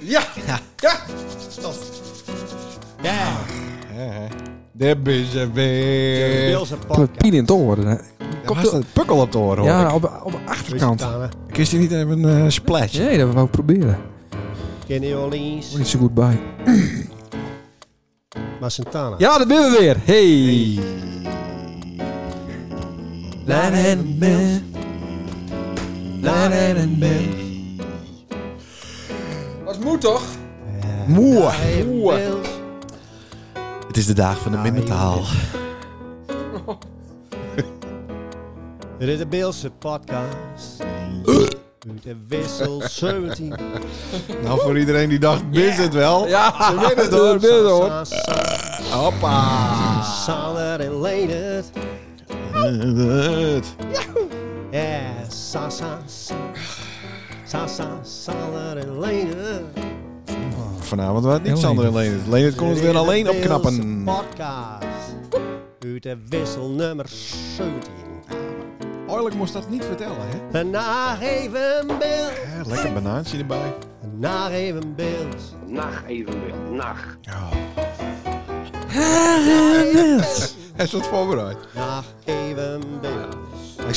Ja, Ja. ja. Dat. Ah. Ja. Daar ben je De weer. Bills en Op het Park. piel in het oor. hè. Daar was een pukkel op de oren, hoor Ja, ik. op, op de achterkant. Lusitana, Kun je niet even een eh, splash? Nee, dat wou ik proberen. Kenny Orleans. Moet niet zo goed bij. Maar Santana. Ja, daar ben we weer. Hey. en Bills. en Bills. Wat moet toch? Moe. Moe. Bills. Het is de dag van de mimmetaal. Dit is de Beelse podcast. Uit de wissel 17. Nou, voor iedereen die dacht, wist het wel. Ja, Ze winnen het, dat hoor. ben hoor. Sa- sa- Hoppa. Sander en Leendert. Het. Ja, sa sa sa. Sa sa Sander en Leendert. Vanavond was het niet Heel Sander en Leendert. Leendert kon ons Dit is weer de alleen Beelse opknappen. podcast. Uit de wissel nummer 17. Eigenlijk moest dat niet vertellen, hè? En Naar even beeld. Ja, lekker banaantje erbij. Naar even beeld. Nacht evenbeeld, nacht. Ja. Hij is wat voorbereid. Naar even beeld.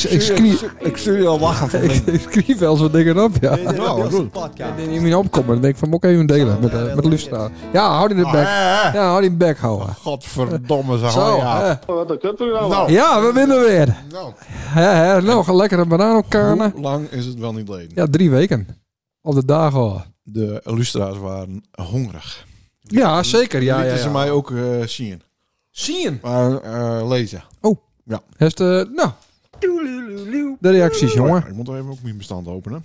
Ik, ik schrie- ik zie je al lachen van Ik ik schreef wel zo'n dingen op, ja. Dit is de Nou, wat Beelse goed. podcast. Die moet nou opkomen. Dan denk ik van, moet ik even delen met, eh, met de luisteraar. Ja, hou die in de bek. Ja, hou die in de bek houden. Ah, Godverdomme, zeg Zo, maar. Ja. hè. Wat een kutter nou. Nou, ja, we winnen weer. nou, Hè, hè, nog een lekkere banaan op kanen. hoe lang is het wel niet geleden? Ja, drie weken. Op de dagen al. De luisteraars waren hongerig. Ja, zeker. Ja, ja, Lieten ze ja. mij ook eh, zien. Zien. Maar eh, lezen. Heeft, eh, nou, de reacties, jongen. Ik moet even ook mijn bestand openen.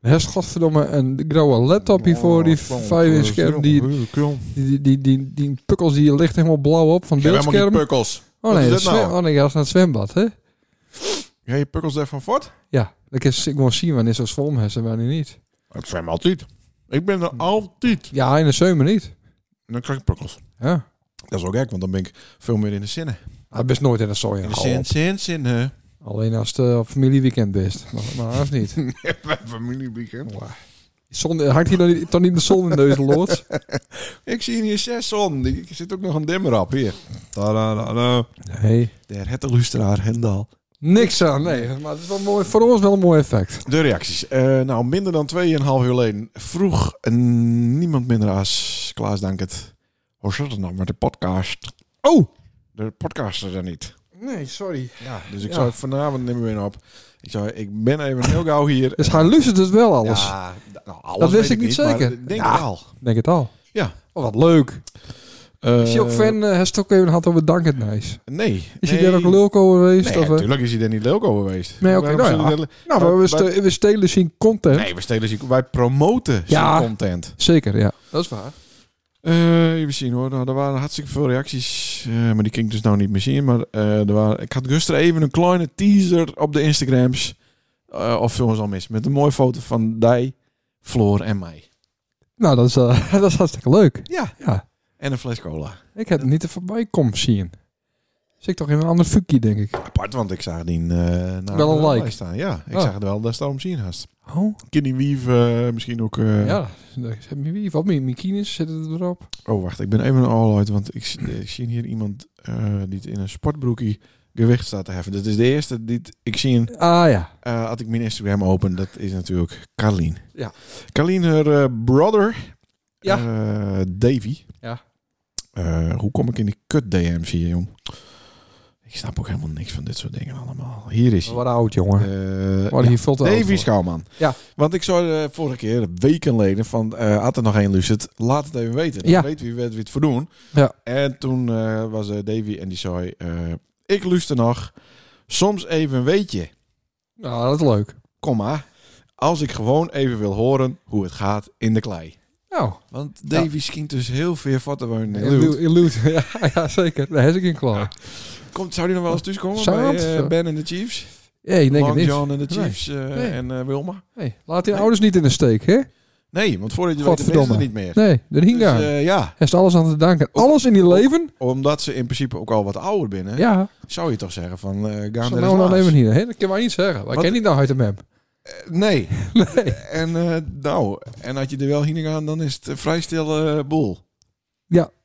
Heeft godverdomme een grauwe laptop Oh, hiervoor, die vijf eh, inch scherm, die, die, die, die, die, die pukkels die ligt helemaal blauw op van het Je hebt helemaal beeldscherm. niet pukkels. Oh Wat nee, is dat dit nou? zwem- oh nee, ja, dat is naar het zwembad, hè? Ja, je pukkels daarvan voort? Ja, dat kan ik gewoon zien wanneer ze vorm hebben en wanneer niet. Ik zwem altijd. Ik ben Hm. er altijd. Ja, in de zomer niet. En dan krijg ik pukkels. Ja. Dat is ook gek, want dan ben ik veel meer in de zinnen. Ah, best nooit in de In soja. de zin, zin, zin, hè. Alleen als het eh, op familieweekend bent. Maar, maar haast niet. familieweekend. Zon, hangt hier dan niet, dan niet de zon in deze loods? Ik zie hier zes zon. Ik ik zit ook nog een dimmer op hier. Ta-da-da-da. Nee. Der het luisteraar Hendal. Niks aan, nee. Maar het is wel mooi, voor ons wel een mooi effect. De reacties. Eh, nou, minder dan 2,5 uur geleden vroeg een- niemand minder als Klaas Dankert. Hoe zit het nou met de podcast? Oh! De podcaster er niet. Nee, sorry. Ja, dus ik Ja. zou vanavond nemen we weer op. Ik zei, ik ben even heel gauw hier. Dus hij luistert dus wel alles. Ja, d- nou, alles Dat wist weet ik niet maar zeker. Ik denk Ja. het al. Denk het al. Ja. Oh, wat leuk. Is je ook fan, eh, heeft het ook even gehad over Dank het Nice. Nee. Is nee. hij daar ook leuk over geweest? Nee, of, eh? natuurlijk is hij daar niet leuk over geweest. Nee, oké, Waarom nou zullen ja. we dat- nou, maar we, ste- we stelen zien content. Nee, we stelen ziek. Wij promoten Ja. zijn content. Zeker, ja. Dat is waar. Eh even zien hoor. Nou, er waren hartstikke veel reacties. eh, maar die kan ik dus nou niet meer zien. Maar eh, er waren, ik had gisteren even een kleine teaser op de Instagrams. eh, of films al mis. Met een mooie foto van Dij, Floor en mij. Nou, dat is, eh, dat is hartstikke leuk. Ja. Ja. En een fles cola. Ik heb het niet er voorbij komen zien. Zit toch in een ander fukie, denk ik. Apart, want ik zag die eh na Wel een de like. lijst staan. Ja, ik Oh. zag het wel dat ze om zien had. Oh? Kenny Weave eh, misschien ook. eh, Ja. daar zit mijn wief op. Mijn kines zitten erop. Oh, wacht. Ik ben even een all out, want ik, ik zie hier iemand eh, die het in een sportbroekie gewicht staat te heffen. Dat is de eerste die het- ik zie. Ah ja. eh had ik mijn Instagram open, dat is natuurlijk Carlien. Ja. Carlien, haar eh, brother, Ja. eh, Davy. Ja. Eh, hoe kom ik in die kut DM's hier, jong? Ik snap ook helemaal niks van dit soort dingen allemaal. Hier is hij. Wat oud, jongen. Eh, Wat ja. hier veel te oud Davy voor. Schouwman. Ja. Want ik zou eh, vorige keer, weken geleden, van eh had er nog één Lucet, laat het even weten. Dan Ja. weet wie, weet wie het voor doen. Ja. En toen eh, was eh, Davy en die zei, eh, ik luister nog, soms even een weetje, Nou, dat is leuk. komma, als ik gewoon even wil horen hoe het gaat in de klei. Nou, Want Davy schijnt dus heel veel voor te wonen in in Luut. Lu- in Luut. Ja, ja, zeker. Daar heb ik in klaar. Komt, zou die nog wel eens thuiskomen Zou bij het? eh, Zo. Ben en de Chiefs? Nee, ik denk het Long niet. John en de Chiefs eh, Nee. en eh, Wilma? Nee, laat die ouders niet in de steek, hè? Nee, want voordat je weet, weten is Godverdomme. er niet meer. Nee, de Dus, Hinga. eh, ja, Hij is alles aan te danken. Alles in die leven? Omdat ze in principe ook al wat ouder binnen. Ja. Zou je toch zeggen van eh gaan Zo er nou eens dan langs. even hier. Hè? Dat kan wij niet zeggen. Wij Wat- kennen niet nou uit de map. Eh, nee. Nee. En eh, nou, en had je er wel heen gaan, dan is het een vrij stille eh, boel. Ja.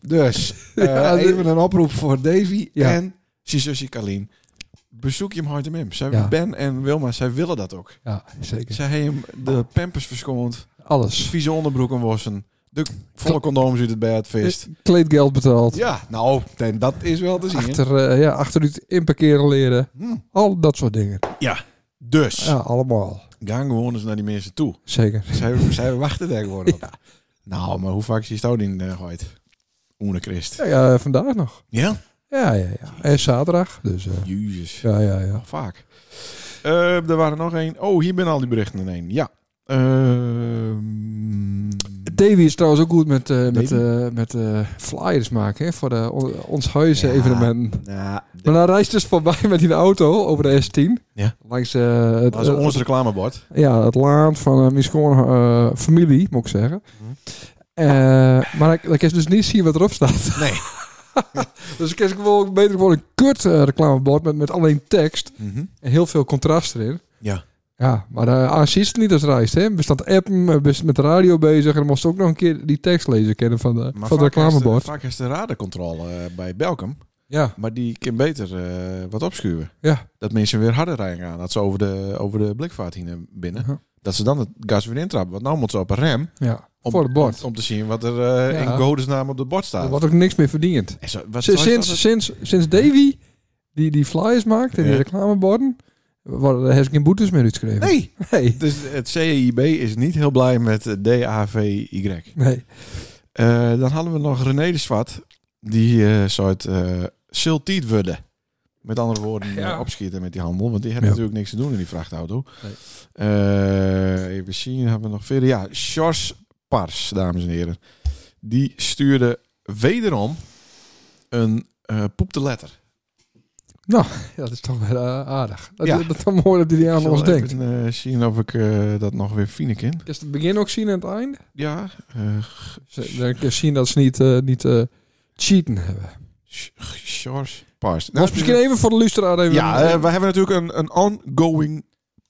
Dus, eh, Ja, de- even een oproep voor Davy Ja. en zijn zusje Kaleen. Bezoek je hem hard hem. Zij, Ja. Ben en Wilma, zij willen dat ook. Ja, zeker. Zij hebben hem de pampers verschoond, Alles. vieze onderbroeken wassen, de volle condooms uit het bed vist. Eh, Kleedgeld betaald. Ja, nou, nee, dat is wel te zien. Achter, eh, ja, achteruit inparkeren leren. Hm. Al dat soort dingen. Dus, Ja, allemaal. gaan gewoon eens naar die mensen toe. Zeker. Zij, zij wachten daar gewoon op. Nou, maar hoe vaak is dat in eh, de gooit? Oene Christ. Ja, ja, vandaag nog. Ja? Ja, ja, ja. En zaterdag. Dus eh, Jezus. ja, ja, ja. Nog vaak. Eh, er waren nog één. Oh, hier ben al die berichten in één. Ja. Ehm, Davy is trouwens ook goed met, eh, met, Davy? eh, met eh, flyers maken hè, voor de on- ons huizen evenementen. nou, Maar dan reist dus voorbij met die auto over de S10. Ja. Langs eh, het, dat is eh, ons reclamebord. ja, het land van eh, mijn schoon eh, familie, moet ik zeggen. Mhm. Eh, maar ik, ik kan dus niet zien wat erop staat. Nee. dus ik kan gewoon beter gewoon een kut eh, reclamebord met, met alleen tekst Mhm. en heel veel contrast erin. Ja. Ja, maar de AC is het niet als reist, hè? Bestand appen, eh, best met de radio bezig en dan moest ook nog een keer die tekst lezen kennen van de, Maar van het vaak is de- reclamebord. Vaak is de radarcontrole eh, bij Belkom. Ja, Maar die kan beter eh, wat opschuwen. ja, Dat mensen weer harder rijden gaan. Dat ze over de, over de blikvaart hier naar binnen. Ja. Dat ze dan het gas weer intrappen. Want nou moet ze op een rem. Uh-huh. ja. Om, Voor het bord. Om, om te zien wat er eh, Ja. in godesnaam op het bord staat. Er wordt ook niks meer verdiend. En zo- wat- Sinds, zo is dat sinds, sinds, sinds Davy die, die flyers maakt en die Ja. reclameborden, worden er geen boetes meer het- uitgeschreven. Nee. Nee. Dus het CIB is niet heel blij met eh, DAVY. Nee. Eh dan hadden we nog René de Zwart. Die eh zou het eh siltiet worden. Met andere woorden, eh, Ja. opschieten met die handel. Want die had Ja. natuurlijk niks te doen in die vrachtauto. Nee. Eh, even zien, hebben we nog verder. Ja, Sjors Pars, dames en heren. Die stuurde wederom een eh poepte letter. Ja, dat is toch wel eh, aardig. Dat, Ja. dat, is toch mooi dat hij die aan Zal ons denkt. Even eh, zien of ik eh, dat nog weer fine kan. Kun je het begin ook zien en het eind? Ja, eh Ze- Dan kun je zien dat ze niet, eh, niet eh, cheaten hebben. Sh- Sjors Pars. Was misschien even voor de luisteraar even... Nou, eh, Ja, eh, we hebben natuurlijk een, een ongoing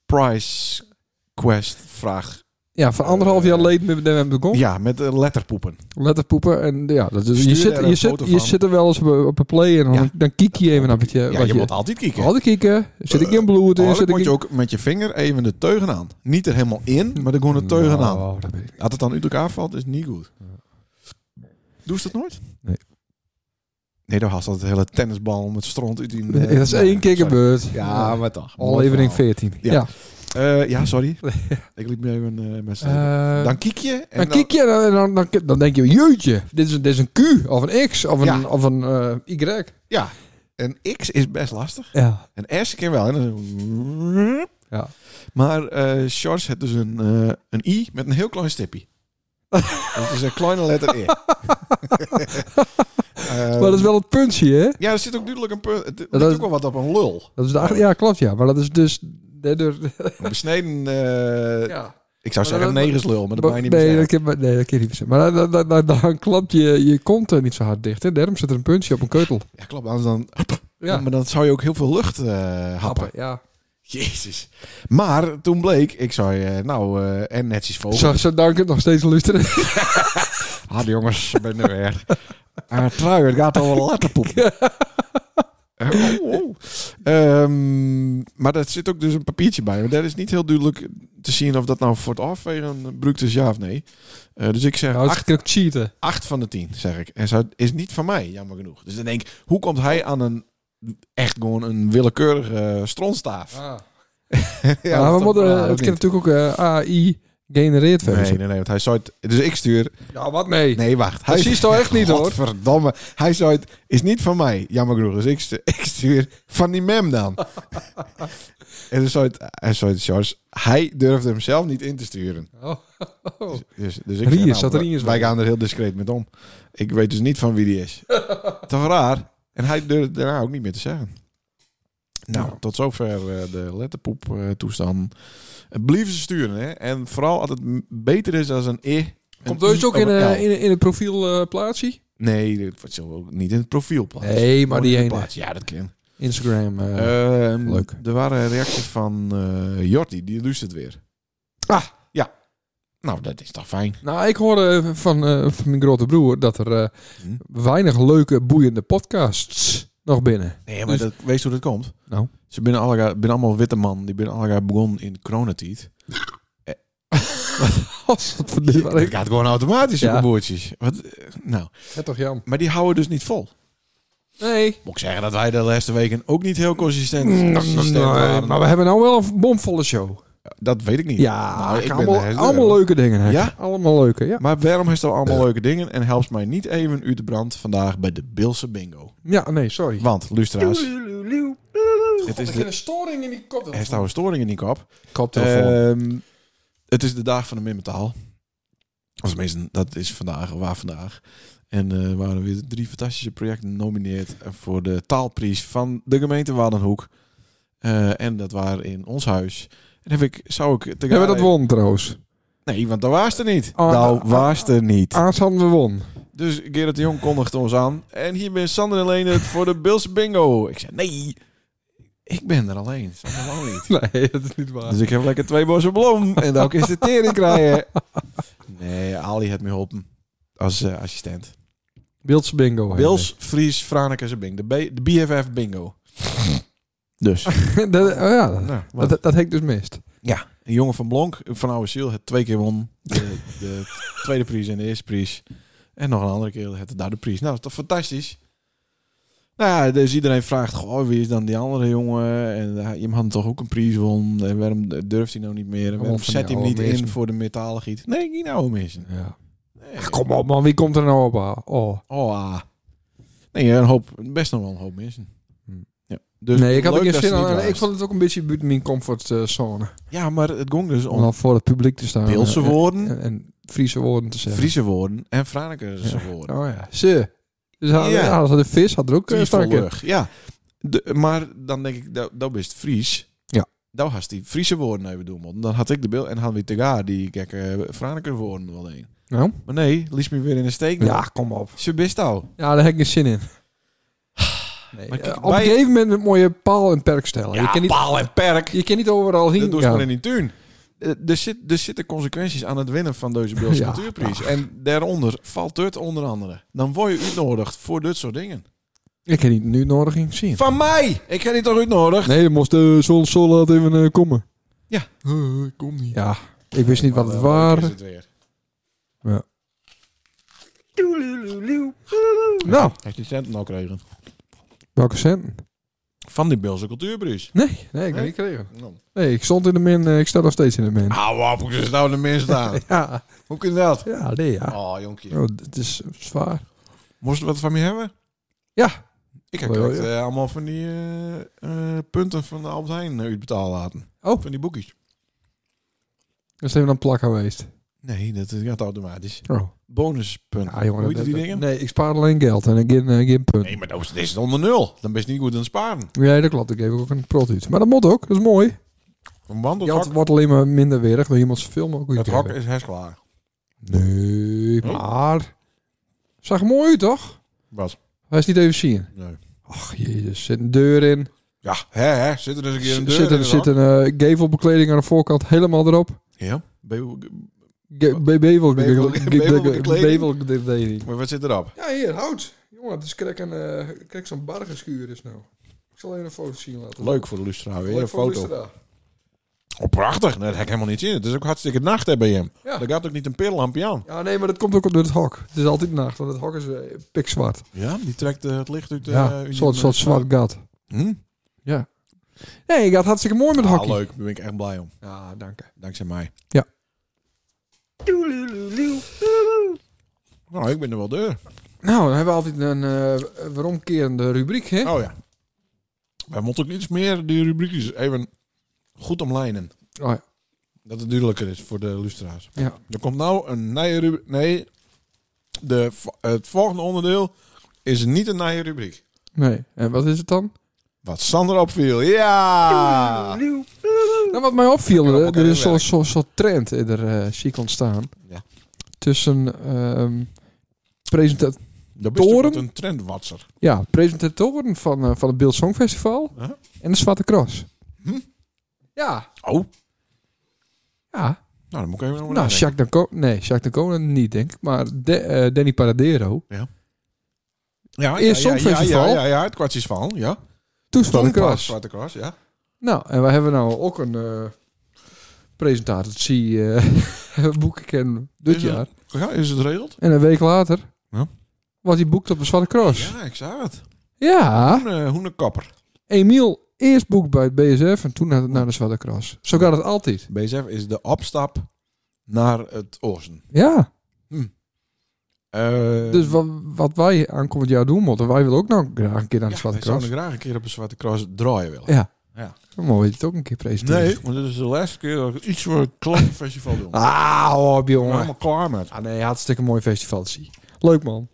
price quest vraag. ja, van anderhalf jaar geleden ben- ben we begonnen. Ja, met eh, letterpoepen. Letterpoepen. En ja, dat, is- Stuur je, daar zit, een je, zit, foto je van. zit er wel eens op, op een play en dan, Ja. dan kijk je even naar wat je... Ja, wat je moet altijd kijken. Altijd kijken. Zit ik in bloed in? Oh, dan zit ik moet je in... ook met je vinger even de teugen aan. Niet er helemaal in, maar er gewoon de teugen aan. Oh, dat weet ik. Als het dan uit elkaar valt, is niet goed. Doe ze dat nooit? Nee. Nee, dan had dat de hele tennisbal met stront uit die... eh, Nee, dat is nou, één keer sorry. gebeurd. Ja, maar toch. Mooi Aflevering verhaal. 14. Ja. Ja. Eh, ja, sorry. ik liep nu even eh, met z'n Eh, Dan kijk je. En dan kijk je en dan, dan, dan, dan denk je, jeetje, dit is, een- dit is een Q of een X of een, Ja. of een eh, Y. Ja. En X is best lastig. Ja. Een S keer wel. hè. Dan- Ja. Maar eh Sjors heeft dus een, eh, een I met een heel klein stipje. dat is een kleine letter E. Ehm, Maar dat is wel het puntje, hè? Ja, er zit ook duidelijk een punt. Het Dat ligt is- ook wel wat op een lul. Dat is de, acht- ja, klopt, ja. Maar dat is dus... daardoor- Een besneden, eh, ja. ik zou Maar zeggen dat- negerslul, maar dat ben je niet nee, besneden. dat kan, nee, dat kan je niet zeggen. Maar dan, dan, dan, dan klapt je, je kont eh, niet zo hard dicht. Hè? Daarom zit er een puntje op een keutel. Ja, klopt. Anders dan, Ja, Maar dan zou je ook heel veel lucht eh, happen. happen. Ja. Jezus. Maar toen bleek, ik zei, eh, nou, eh, en netjes vogel. Zo, zo dank het nog steeds luisteren. Ah, de jongens, ik ben er weer. Ah, trui, het gaat over letterpoep. Eh, oh, oh. Ehm, maar daar zit ook dus een papiertje bij. Maar daar is niet heel duidelijk te zien of dat nou voor het afvegen brukt is, ja of nee. Eh, dus ik zeg Nou, het acht, is ook cheaten. acht van de tien, zeg ik. En zo is niet van mij, jammer genoeg. Dus dan denk ik, hoe komt hij aan een echt gewoon een willekeurige eh, stronstaaf? Ja, dat maar is Nou, we toch moeten, raar, het of kan niet? natuurlijk ook eh, AI genereerd Nee, worden. nee, nee, want hij zou het... Dus ik stuur... Ja, wat nee. Nee, wacht. Dat zie je toch echt niet, hoor. Verdomme. Hij zei het is niet van mij. Jammer genoeg. Dus ik, stu- ik stuur van die mem dan. en toen zei het, hij zei het, Charles, hij durfde hem zelf niet in te sturen. Oh. Dus, dus ik Riers, zei, nou, dat Riers wij wel. gaan er heel discreet met om. Ik weet dus niet van wie die is. Toch raar. En hij durfde daarna ook niet meer te zeggen. Nou, Nou. tot zover eh, de letterpoep eh, toestand. Eh, Blijven ze sturen, hè. En vooral als het m- beter is als een E. een Komt I dus ook of in, een eh, L. in, in het profiel eh, plaatsie? Nee, dat wordt zo ook niet in het profiel plaatsen. Nee, maar Gewoon die in de ene. plaats. Ja, dat kan. Instagram. eh, Ehm, leuk. Er waren reacties van eh Jordi, die luistert weer. Ah. Ja. Nou, dat is toch fijn. Nou, ik hoorde eh, van, eh, van mijn grote broer dat er eh, Hm. weinig leuke, boeiende podcasts nog binnen. Nee, maar maar dat, Dus weet hoe dat komt? Nou. Ze binnen allemaal, binnen allemaal witte man. Die binnen allemaal begonnen in de coronatijd. Als dat verdient waar Het ik. gaat gewoon automatisch, Ja. ja. boertjes. Wat, eh, nou. Het toch jam? Maar die houden dus niet vol. Nee. Moet ik zeggen dat wij de laatste weken ook niet heel consistent, Mm, consistent waren. maar we hebben nou wel een bomvolle show. Dat weet ik niet. Ja, Nou, ik ben allemaal, er heel allemaal erg. leuke dingen. Henk. Ja? Allemaal leuke, ja. Maar waarom is dat Eh. allemaal leuke dingen? En helpt mij niet even u de brand vandaag bij de Bilse bingo. Ja, nee, sorry. Want, luisteraars, het is de, een storing in die kop. Eh, er is nou een storing in die kop. Koptelefoon. Ehm, het is de dag van de minbetaal. Of tenminste, dat is vandaag, waar vandaag. En eh waren weer drie fantastische projecten genomineerd voor de taalprijs van de gemeente Waardenhoek. Eh, en dat waren in ons huis. En heb ik, zou ik... Te hebben we dat won trouwens? Nee, want dat was er niet. Oh, dat ah, was er niet. Aans hadden we won. Dus Gerrit de Jong kondigde ons aan. En hier ben Sander en Leendert voor de Bills Bingo. Ik zei, nee, ik ben er alleen. Sander wou niet. Nee, dat is niet waar. Dus ik heb lekker twee bossen bloem en dan is de tering krijgen. Nee, Ali heeft me geholpen als eh, assistent. Wildse bingo. Henk. Wils, Fries, Franeker en Bing. De, B- de BFF bingo. Dus. dat, oh ja, dat, Nou, wat? dat, dat heb ik dus mist. ja. Een jongen van Blonk, van Oude Ziel, het twee keer won. De, de tweede prijs en de eerste prijs. En nog een andere keer het daar de prijs. Nou, dat is toch fantastisch? Nou ja, dus iedereen vraagt, goh, wie is dan die andere jongen? En eh, je had toch ook een prijs won? En waarom durft hij nou niet meer? En waarom Allemaal van zet die hij hem niet oude in mensen. voor de metalengiet? Nee, niet nou missen. Ja. Nee. Ach, kom op man, wie komt er nou op? aan? Oh. Oh, ah. Nee, een hoop, best nog wel een hoop mensen. Hm. Ja. Dus nee, ik had leuk er geen dat zin ze niet aan. waren. Ik vond het ook een beetje buiten mijn comfortzone. Ja, maar het ging dus Om om dan voor het publiek te staan. Eh, Beelse en- woorden, En, en Friese woorden te zeggen. Friese woorden en Franekerse woorden. Oh ja. Ze. Dus hadden, Ja. hadden ze de vis had er ook eh, Fries staan. van Lurg, ja. De- maar dan denk ik, dat, dat is Fries. Ja. Dan had die Friese woorden even doen moeten. Dan had ik de beeld en hadden we tegaar die gekke Franeker woorden wel een. Nou? Maar nee, liet me weer in de steek. Ja, kom op. Ze best al. Ja, daar heb ik geen zin in. Nee, Maar eh, kijk, op bij- een gegeven moment een mooie paal en perk stellen. je, kan niet, paal en perk. je kan niet overal heen Dat doe je gaan. maar in die tuin. Eh, Er, zit, er zitten consequenties aan het winnen van deze Beelse Ja. Cultuurprijs. En daaronder valt dit onder andere. Dan word je uitnodigd voor dit soort dingen. Ik kan niet nu nodig ging zien. Van mij! Ik heb die toch uitnodigd? Nee, dan moest de zon zo laat even eh, komen. Ja. Eh, kom niet. Ja, ik wist niet wat het was. Ah, Is het weer. Nou, Heeft die centen al gekregen? welke centen? Van die Beelse Cultuurprijs. Nee, nee, ik heb Nee? niet gekregen. Nee, ik stond in de min, eh, ik sta nog steeds in de min. Hou op, ik zit nou de mensen aan. Ja, Hoe kan dat? ja, nee, ja. Oh, jonkje. Oh, dit is zwaar. Moest je wat van me hebben? Ja. Ik heb Oh, ja, het, eh, allemaal van die eh, eh, punten van de Albert Heijn eh, uitbetaald laten. Oh. Van die boekjes. Dat is even een plak geweest. Nee, dat gaat automatisch. Oh. Bonuspunten. Ja, jongen. Hoe heet dat- die dat- dingen? Nee, ik spaar alleen geld en ik geen, eh, geen punt. Nee, maar dat is- dit is het onder nul. Dan ben je niet goed aan het sparen. Nee, dat klopt. Ik geef ook een prot uit. Maar dat moet ook. Dat is mooi. Een wand het Geld hok, wordt alleen maar minder weerig door iemands film ook. het Oh. weer hok hebben. is herst klaar. Nee, Huh? maar... Zag er mooi uit, toch? Wat? Hij is niet even zien. Nee. Ach, jezus. Zit een deur in. Ja, hè, hè. Zit er dus een keer een Z- deur Zit in een, het zit hok? een eh, gevelbekleding aan de voorkant helemaal erop. Ja. Be- Ge- be- bevel- Bevel- ge- ge- bevelbekleding? Bevelbekleding. Maar wat zit erop? Ja, hier, hout. Jongen, het is krek, een, eh, krek zo'n bargeschuur is nou. Ik zal even een foto zien laten. Leuk voor de lustraal. Weer een Leuk voor de foto. luisteraar. Oh, prachtig. Nee, dat heb ik helemaal niet zien. Het is ook hartstikke nacht hè, bij hem. Ja. Er gaat ook niet een pillellampje aan. Ja, nee, maar dat komt ook door het hok. Het is altijd nacht, want het hok is eh, pikzwart. Ja, die trekt eh, het licht uit. eh, ja, uit die- soort, soort zwart gat. Hm? Nee, gaat hartstikke mooi met Ah, hockey. leuk. Daar ben ik echt blij om. Ja, dank je. Dankzij mij. Ja. Nou, ik ben er wel deur. Nou, dan hebben we altijd een eh weeromkerende rubriek, hè? Oh ja. Wij moeten ook iets meer die rubriekjes even goed omlijnen. Oh ja. Dat het duidelijker is voor de lustra's. Ja. Er komt nou een nieuwe rubriek. Nee, de, vo- het volgende onderdeel is niet een nieuwe rubriek. Nee, en wat is het dan? Wat Sander opviel. Ja! Nou, wat mij opviel, Lekker op eh, elkaar er is zo'n inwerken. zo, zo trend eh, er eh zie ik ontstaan. Ja. Tussen ehm presenta- Dat is toch Toren? wat een trendwatser. Ja, presentatoren van, eh, van het Beeld Songfestival Huh? en de Zwarte Cross. Hm? Ja, Oh, nou ja. dan moet ik even over nou, nadenken. Jacques Danco... Nee, Jacques Danco niet, denk ik. Maar De- eh, Danny Paradero. Ja, Eerst ja, ja, Songfestival. Ja, ja, ja, ja, het kwartjesval, ja. Toen Zwarte Cross. Zwarte Cross, ja. Nou, en we hebben nou ook een eh presentator. Zie boek ik hem dit Is het- jaar. Ja, is het regeld? En een week later Ja. was hij boekt op de Zwarte Cross. Ja, ik zag het. Ja. Hoene, Hoene Kapper. Emiel eerst boekt bij het BSF en toen naar, naar de Zwarte Cross. Zo gaat het altijd. BSF is de opstap naar het Oosten. Ja. Eh, Dus wat, wat wij aankomend jaar doen moeten, wij willen ook nog graag een keer naar de ja, Zwarte wij zouden Cross. graag een keer op een Zwarte Cross draaien willen. Ja. Ja. Dan mogen we het ook een keer presenteren. Nee, want dit is de laatste keer dat ik iets voor een klein festival doe. Ah, hou op Ik ben jongen. helemaal klaar met. Ah nee, hartstikke mooi festival zie. Leuk man.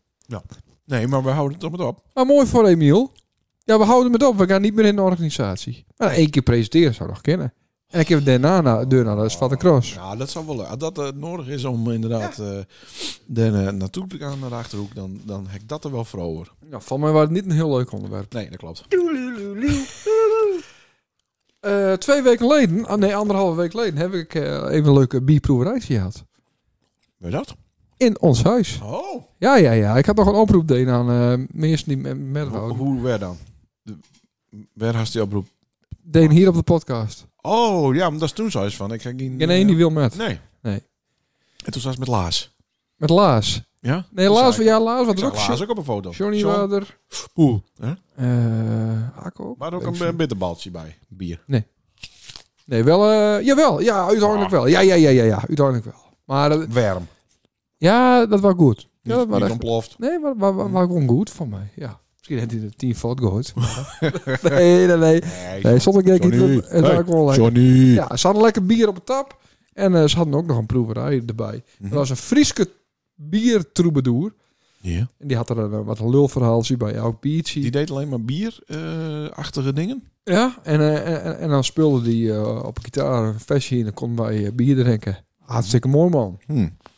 Nee, maar we houden het op het op. Maar mooi voor Emiel. Ja, we houden het op. We gaan niet meer in de organisatie. Maar nou, één keer presenteren zou nog kunnen. En ik heb daarna naar, deur naar de Zwarte Cross. Ja, dat zou wel leuk. Als dat eh, nodig is om inderdaad eh daar, eh, naartoe te gaan, naar de Achterhoek, dan, dan heb ik dat er wel voor over. Nou, van mij was het niet een heel leuk onderwerp. Nee, dat klopt. Eh, twee weken geleden, ah, nee, anderhalve week geleden, heb ik eh, even een leuke bierproeverij gehad. Weet je dat? In ons huis. Oh. Ja, ja, ja. Ik had nog een oproep deed aan eh mensen die met, met Hoe, houden. hoe weer dan? De, waar had die oproep? Deed hier op de podcast. Oh, ja, maar dat is toen zo eens van. Ik ga geen... eh, Geen één die wil met. Nee. Nee. En toen was het met Laas. Met Laas. Ja? Nee, Toen Laas, zei ja, Laas ik- wat Ik er ook. zag Laas Jo- ook op een foto. Johnny John- Wader. Poel. Hè? Eh Akko. Maar ook Weet ik een zo. eh, bitterbaltje bij. Bier. Nee, wel. eh, jawel, ja, Ah. uiteindelijk wel. Ja, ja, ja, ja, ja, uiteindelijk wel. Maar dat- Warm. ja, dat was goed. Ja, Niet, dat was niet echt- ontploft. Nee, maar maar- maar- maar gewoon goed van mij. Ja. Misschien heeft hij de tien fout gehoord. nee, nee, nee. Nee. Nee, zonder gek niet. Johnny. Het het was Hey, gewoon lekker. Johnny. Ja, ze hadden lekker bier op de tap. En eh, ze hadden ook nog een proeverij erbij. Mhm. Er was een Frieske biertroubadour. Ja. En die had er een, eh, wat een lulverhaaltje bij elk biertje. Die deed alleen maar bierachtige dingen. Ja, en, eh, en, en dan speelde die eh, op gitaar een festje en dan konden wij eh, bier drinken. Hartstikke mooi man.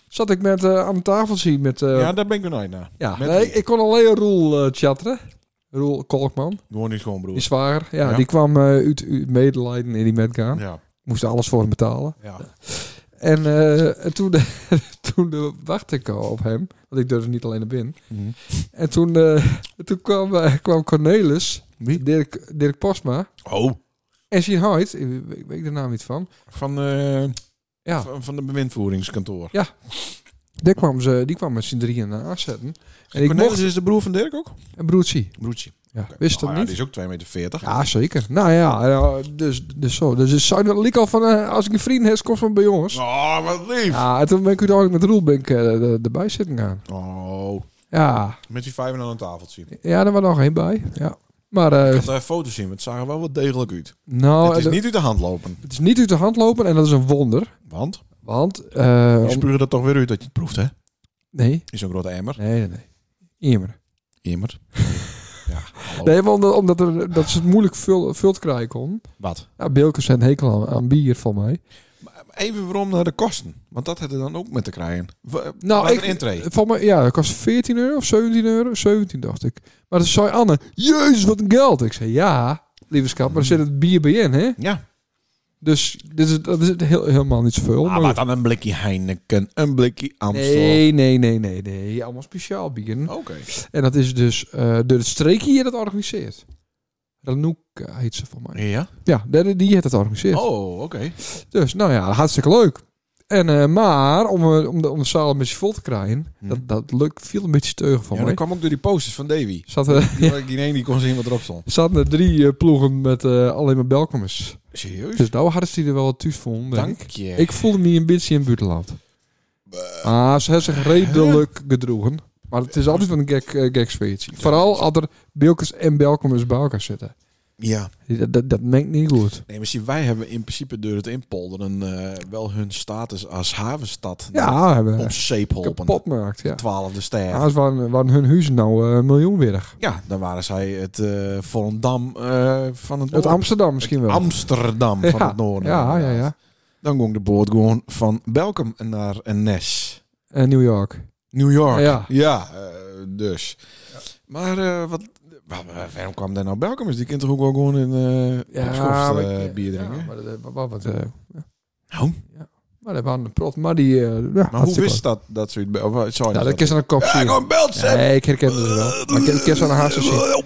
Zat ik met, eh, aan de tafel zien met... eh, Hm. ja, ja, daar ben ik benieuwd naar. met nee, wie? ik kon alleen Roel eh chatteren. Roel Kolkman, Gewoon niet gewoon, broer. die zwager. Ja, Ja. die kwam eh, uit, uit medelijden in die metgaan. Ja. Moest alles voor hem betalen. ja. En eh, en toen, toen eh, wachtte ik al op hem, want ik durfde niet alleen naar binnen. Hm. En toen, eh, toen kwam, eh, kwam Cornelis, Wie? Dirk, Dirk Postma, Oh. en Sien Hoyt, ik weet- weet ik de naam niet van. Van, eh, Ja. van, van de bewindvoeringskantoor. Daar kwam ze, die kwam met z'n drieën aanzetten. En ik Cornelis mocht is de broer van Dirk ook? een broertje. Broertje. Ja, Oké. wist dat Nou ja, Die niet? is ook 2,40 meter. Ja, zeker. Nou ja, ja, dus, dus zo. Dus het zou wel liek al van, eh, als ik een vriend heb, kom van bij ons. Oh, wat lief. Ja, en toen ben ik uiteindelijk met Roel ben ik, eh, er- erbij zitten gaan. Oh. Ja, Met die vijf aan een tafeltje. Ik ja, daar was nog één bij. Ja. Maar eh, had daar foto's zien, want het zag er wel wat degelijk uit. nou, het is de- niet uit de hand lopen. Het is niet uit de hand lopen en dat is een wonder. Want? Want, eh, Je om- spuren dat toch weer uit dat je het proeft, hè? nee, In zo'n grote emmer. nee, nee, nee. Immer. Immer. ja, hallo. Nee, want eh, omdat, omdat er, dat ze het moeilijk vul, vult krijgen kon. Wat? Ja, Bilkes zijn hekel aan, aan bier van mij. Even waarom naar de kosten. Want dat had er dan ook met te krijgen. Nou, nou, ik- ik... intree. Van mij, ja, dat kost 14 euro of 17 euro. 17 dacht ik. Maar dan zei Anne, jezus, wat een geld. Ik zei, ja, lieve schat, maar er zit het bier bij in, hè? Ja. Dus dit is, dat is het heel, helemaal niet zoveel. Ah, maar maar goed. dan een blikje Heineken, een blikje Amstel. nee, nee, nee, nee, nee. Allemaal speciaal bieren. Oké. En dat is dus eh de, de streek hier dat organiseert. Ranouk eh, heet ze van mij. Ja? Ja, die, die heeft het georganiseerd. Oh, oké. Dus nou ja, hartstikke leuk. En, eh, maar om, eh, om, de, om de zaal een beetje vol te krijgen, Hm. dat, dat luk, viel een beetje teugen van Ja, mij. dat kwam ook door die posters van Davy. Zaten, Die ja. die ene die kon zien wat erop stond. zaten er drie eh, ploegen met eh, alleen maar belkomers. Serieus? Dus nou hadden ze die er wel wat thuis vonden. Dank je. Ik voelde me een beetje in het buitenland. Ah, ze hebben zich redelijk gedroegen. Maar het is altijd een gek, eh, gek sfeertje. Vooral als er Bilkes en Belkomers bij elkaar zitten. Ja. Dat, dat, dat mengt niet goed. Nee, maar zie, wij hebben in principe door het inpolderen eh, wel hun status als havenstad Ja, hebben ons zeep holpen. kapot maakt. Ja. Nou, Twaalfde ster. Haast waren, waren hun huizen nou eh, miljoenwillig. Ja, dan waren zij het eh Volendam eh, van het Uit noorden. Amsterdam misschien wel. Amsterdam van Ja, het noorden. Ja, ja, ja. inderdaad. Dan ging de boot gewoon van Belkom naar een Nes. En New York. New York. Ja. eh, dus. Maar eh, wat, wa- wa- waarom kwam daar nou Belkom? Is die kind toch ook wel gewoon een eh Popscoft, eh, bier drinken? Ja, maar dat, wat, wat, wat, eh, Nou, maar dat waren een prot. Maar die... eh, ja, maar hoe wist dat dat zoiets? Of eh, zou je Ja, dat is aan een kop Ja, zien. gewoon belt, Sepp. Nee, ik herken het wel. Maar ik ik ken ze aan de haast zien.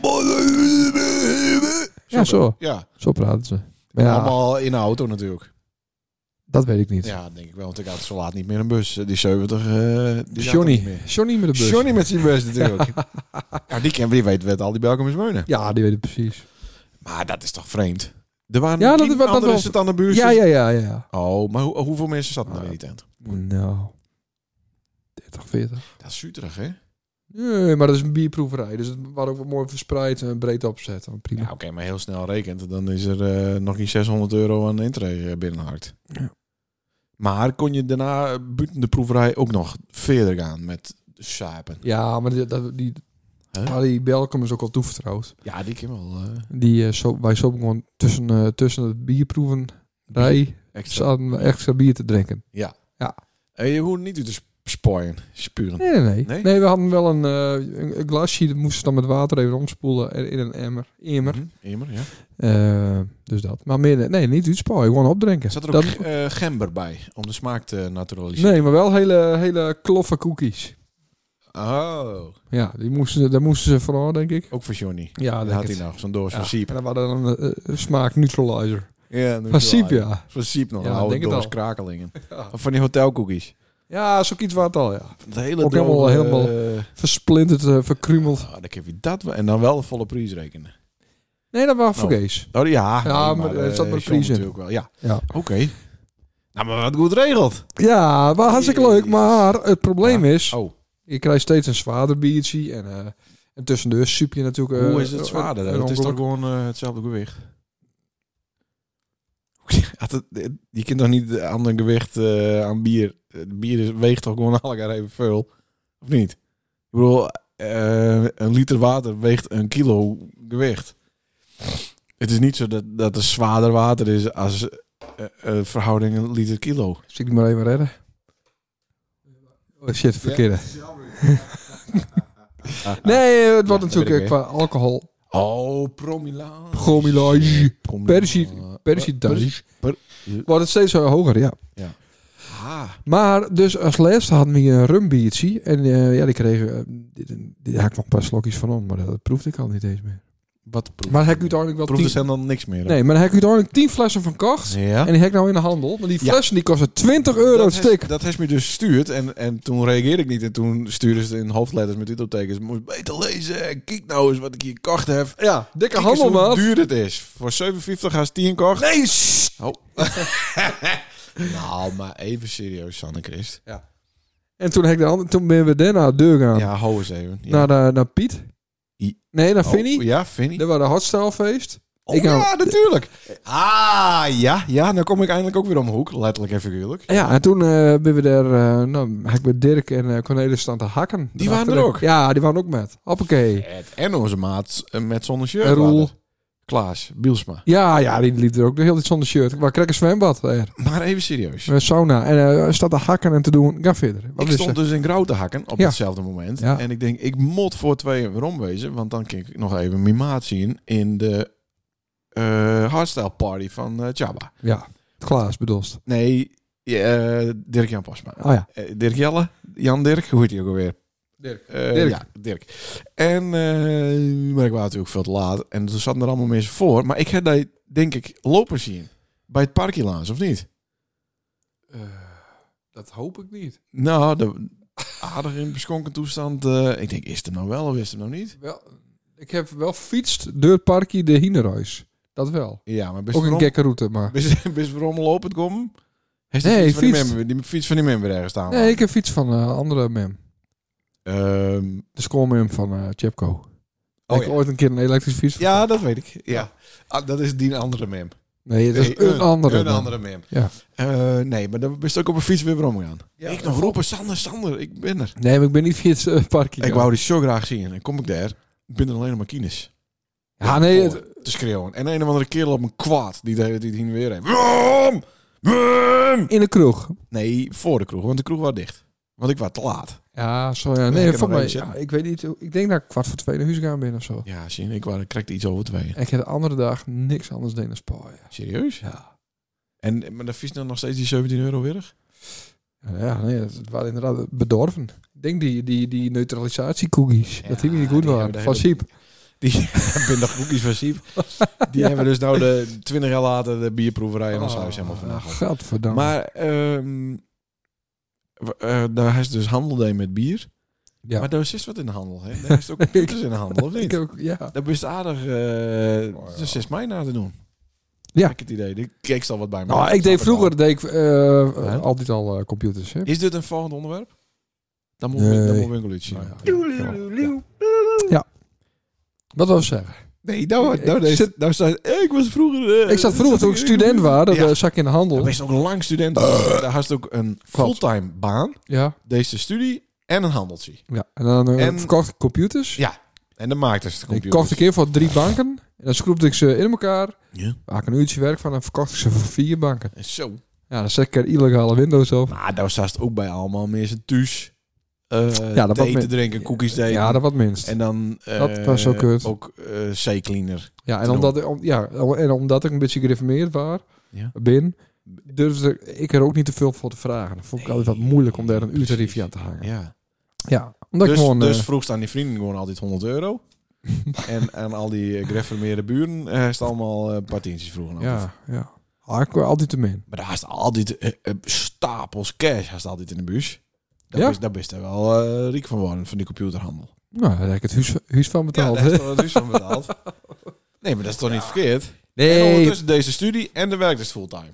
Ja, zo. Ja, Zo praten ze. Maar ja, allemaal in de auto natuurlijk. dat weet ik niet. Ja, denk ik wel, want ik had zo laat niet meer een bus. Die 70, eh die zat er niet Johnny. meer. Johnny met de bus. Johnny met zijn bus natuurlijk. ja, die kan wie weet wat al die Belkomers wonen. Ja, die weet het precies. Maar dat is toch vreemd? Er waren Ja, ja, dat- dat, dat- dat anderen wel. zit aan de buurt. Ja, ja, ja, ja. ja. Oh, maar hoe- hoeveel mensen zaten er Ah, in die tent? Nou, 30, 40. Dat is Zuterig, hè? Nee, maar dat is een bierproeverij. Dus het was ook wat mooi verspreid en breed opzet. Dan Ja, Prima. oké, maar heel snel rekent. Dan is er eh, nog niet 600 euro aan intree eh, binnenhakt. Ja. Maar kon je daarna eh, buiten de proeverij ook nog verder gaan met sapen? Ja, maar die, dat- die, Huh? maar die Belkom is ook al toevertrouwd. Ja, die kan wel. eh, Die, eh, zo, wij zopen gewoon tussen, eh, tussen het bierproevenrij extra. zaten we extra bier te drinken. Eh, je hoeft niet uit te sp- spooien, spuren. Nee, nee, nee. Nee? Nee, we hadden wel een, eh, een, een glasje. Dat moesten ze dan met water even omspoelen en in een emmer. Emmer. Mhm, Immer, ja. Eh, dus dat. Maar meer, nee, niet uitspouwen. Gewoon opdrinken. Zat er ook Dat- ge- eh, gember bij om de smaak te naturaliseren? nee, maar wel hele, hele kloffe cookies. Oh, Ja, die moesten, ze- daar moesten ze vooral, denk ik. ook voor Johnny. Ja, Dat denk had hij nou het. nog, zo'n doos Ah, Ja. van siep. En dan hadden we dan een eh, smaak neutralizer. Ja, dat Van is wel Siep, aardig. ja. Van Siep nog, Ja, een ik oude denk het doos al. krakelingen. Ja, Of van die hotelcookies. ja is ook iets wat al, ja. Het hele Ook helemaal- droge, helemaal- eh, Versplinterd, eh, verkrumeld. ah, dan heb je dat wel. En dan wel de volle prijs rekenen. Nee, dat was Nou. vergees. Oh ja, Ja, maar er zat eh, maar John prijs in. natuurlijk wel. Ja, Ja. oké. Nou, maar wat goed regeld. Ja, was hartstikke leuk. Maar het probleem is, Oh, je krijgt steeds een zwaarder biertje. En, eh en tussendoor suip je natuurlijk... eh, hoe is het zwaarder? een- dan? een het is toch ongeluk. gewoon eh, hetzelfde gewicht? Had het- eh, Je kunt toch niet aan een gewicht eh, aan bier... Het bier is- weegt toch gewoon elkaar even veel? Of niet? Ik bedoel, eh, een liter water weegt een kilo gewicht. Het is niet zo dat, dat er zwaarder water is als eh, eh, verhouding een liter kilo. Zal ik die maar even redden? Oh shit, verkeerde. Nee, eh, het wordt Ja, natuurlijk weet ik eh, qua alcohol. Oh, promilage. Promilage. Persi- Promilage. Percentage. per- Wordt het steeds hoger, ja. Ah. Maar dus als laatste hadden we een rumbiertje. En eh, ja, die kregen... eh, dit- dit- daar had ik nog een paar slokjes van om, maar dat, proefde ik al niet eens meer. Wat proef? Maar heb ik uiteindelijk wel proef er tien... zijn dan niks meer. hè? Nee, maar daar heb ik uiteindelijk tien flessen van kocht. Ja. En die heb ik nou in de handel. Maar die Ja. flessen die kosten 20 euro dat het stuk. Heeft, dat heeft me dus gestuurd en, en toen reageerde ik niet. En toen stuurden ze het in hoofdletters met uitroeptekens. Moet beter lezen. En Kijk nou eens wat ik hier gekocht heb. Kijk Ja, dikke eens handel, hoe maat. duur het is. Voor 57 haast 10 kocht. Nee, Oh. nou, maar even serieus, Sanne Christ. En toen, heb ik de hand- toen ben we daarna de deur gaan. Ja, hou eens even. Ja. Naar, de- naar Piet. I- Nee, naar Oh, Nou, Vinnie. Ja, Vinnie. Dat was een hardstylefeest. Oh, ik ja, hou- natuurlijk. Ah, ja, ja. Nou kom ik eindelijk ook weer om de hoek. Letterlijk en figuurlijk. Ja, en toen eh ben we daar, eh nou, heb ik met Dirk en eh, Cornelis staan te hakken. Die waren er Daarachter- ook? Ja, die waren ook met. Hoppakee. Ed en onze maat eh, met zonder shirt. En Roel. later. Klaas, Bielsma. Ja, ja, die liep er ook de hele tijd zonder shirt. Maar kreeg een zwembad er. Maar even serieus. Een sauna. En eh staat te hakken en te doen. Ga verder. Wat ik is stond er? dus in grauw te hakken op eh, Ja. hetzelfde moment. Ja. En ik denk, ik mot voor twee weer omwezen. Want dan kan ik nog even mijn maat zien in de eh hardstyle party van eh Chaba. Ja, het glaas bedoelst. Nee, eh, Dirk-Jan Pasma. Oh ja. Eh, Dirk Jelle, Jan Dirk, hoe heet hij ook alweer? Dirk. Eh, Dirk. Ja, Dirk. En, eh, maar ik was natuurlijk veel te laat. En toen zaten er allemaal mensen voor. Maar ik heb daar, denk ik, lopen zien. Bij het parkierlaans, of niet? eh, dat hoop ik niet. Nou, de, aardig in beschonken toestand. eh, ik denk, is het hem nou wel of is het hem nou niet? Wel, ik heb wel fietst door het parkje de Hineruis. Dat wel. Ja, maar best Ook een waarom, gekke route, maar... best, best waarom lopen het komen? Heeft die Nee, fiets van die, fiets. member, die fiets van die member ergens staan? Nee, ik heb fiets van eh, andere mem. Ehm, De schoolmem van eh Chepco. oh ik heb ja. ooit een keer een elektrische fiets ja, dat weet ik. Ja. Ah, dat is die andere mem. Nee, dat is Nee, een, andere. Een man. andere mem. Ja. Eh, nee, maar dan ben je ook op een fiets weer weer omgegaan. ik nog roepen, Sander, Sander, ik ben er. Nee, maar ik ben niet via het eh, parkje. Ik wou die zo graag zien. En kom ik daar, ik ben er alleen nog maar kines. Ja, nee, het- Voor te schreeuwen. En een of andere kerel op een kwaad, die de hele tijd heen en weer heen. Wum! Wum! in de kroeg. Nee, voor de kroeg, want de kroeg was dicht. Want ik was te laat. Ja, zo ja. Nee, ik Nee, heb voor nog mij. eentje. ja, ik weet niet. hoe- Ik denk dat ik kwart voor twee naar huis gegaan ben of zo. Ja, zie je, ik wou- ik krijg er iets over twee. En ik heb de andere dag niks anders dan naar Spanje. Serieus? Ja. En maar dan vies dan nog steeds die 17 euro weer? Ja, nee, dat het waren inderdaad bedorven. Ik denk die, die, die neutralisatiecookies. Ja, dat die niet goed die waren. hebben de Van hele- Siep. Die hebben nog boekjes van Siep. Die hebben dus nou de 20 jaar later de bierproeverij in ons huis helemaal vanavond. Oh, nou, Gadverdamme. Maar ehm, w- eh, daar is dus handel deed met bier. Ja. Maar daar is wat in de handel. Hè? Daar is ook computers in de handel, of ik niet? ook, ja. Dat is aardig eh oh, 6 mei na te doen. Ja. Heb Ik het idee. Ik keek al wat bij me. Nou, ik deed vroeger deed ik, eh, Ja. altijd al eh, computers. Hè? Is dit een volgend onderwerp? Dan moet Nee. we dan moet we een evolutie. Nou ja, Ja. ja. Wat wil ik zeggen? Nee, nou, Ik nou, ik, zit- nou zei, ik was vroeger... eh, Ik zat vroeger toen ik student was, dat Ja. eh, Ah. zat ik in de Dan handel. ben je ook lang student. Daar had je ook een fulltime baan, Ja. deze studie en een handeltje. Ja, en dan eh, En- verkocht ik computers. Ja, En dan maakte ze de ik computer. kocht een keer voor drie banken. En dan schroefde ik ze in elkaar. Ja. Maak een uurtje werk van en verkocht ik ze voor vier banken. En Zo. Ja, dan zet ik er illegale Windows op. Maar daar zat het ook bij allemaal mensen thuis. eh Ja, dat thee was te me- drinken, koekjes te eten. Ja, dat wat minst. En dan eh, Dat was ook kut. ook eh, C-cleaner. ja, en te omdat, ik, om- ja, en omdat ik een beetje gereformeerd was, Ja. ben, durfde ik er ook niet te veel voor te vragen. Dat vond ik altijd wat moeilijk om daar een uurtariefje aan te hangen. Ja, Ja. omdat Dus, ik gewoon... dus eh, vroeg staan die vrienden gewoon altijd 100 euro. en aan al die eh, gereformeerde buren eh, is het allemaal eh, een paar tientjes vroeger. altijd. ja, ja. Ah, ik kwam altijd te min. Maar daar is altijd eh, eh, stapels cash haast altijd in de bus. Daar Ja? is daar best wel eh, riek van worden, van die computerhandel. Nou, daar heb ik het huis, huis van betaald. ja, daar hè? is toch dus van betaald. Nee, maar dat is toch niet verkeerd? En nee. ondertussen deze studie en de werk is fulltime.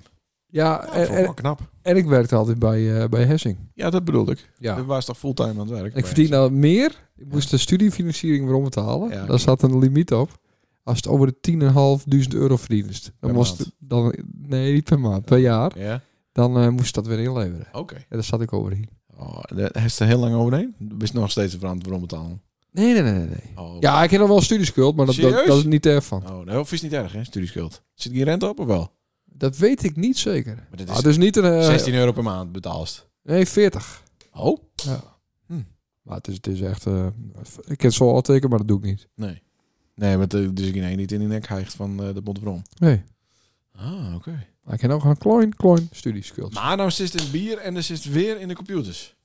Ja, Dat en, vond ik en, wel knap. en ik werkte altijd bij, eh, bij Hessing. Ja, dat bedoelde ik. Ja. We waren toch fulltime aan het werk? Ik verdiende al meer. Ik moest de studiefinanciering weer ombetalen. Ja. Daar zat een limiet op. Als het over de 10.500 euro verdienst, dan Per moest maand. dan nee niet per maand, per jaar, Ja, dan eh, moest dat weer inleveren. oké. En daar zat ik overheen. Oh, daar is er heel lang overheen. Er is nog steeds een verantwoord om betalen. Nee, nee, nee, nee, nee. Oh, Ja, ik heb nog wel studieschuld, maar dat, dat, Serieus? dat is niet ervan. Oh, nee, of is niet erg, hè? Studieschuld. Zit hier rente op of wel? Dat weet ik niet zeker. Maar Maar dit dat is is, dus niet een. eh, 16 euro per maand betaald. Nee, 40. Oh? Maar het is, het is echt. eh, ik ken zo al tekenen, maar dat doe ik niet. Nee. Nee, maar eh, dus ik nee, niet in die nek hijgt van eh, de Bonterbron. Nee. Ah, oké. Maar ik heb ook gewoon klein, klein studieschuld. Maar nou zit het in bier en er zit weer in de computers.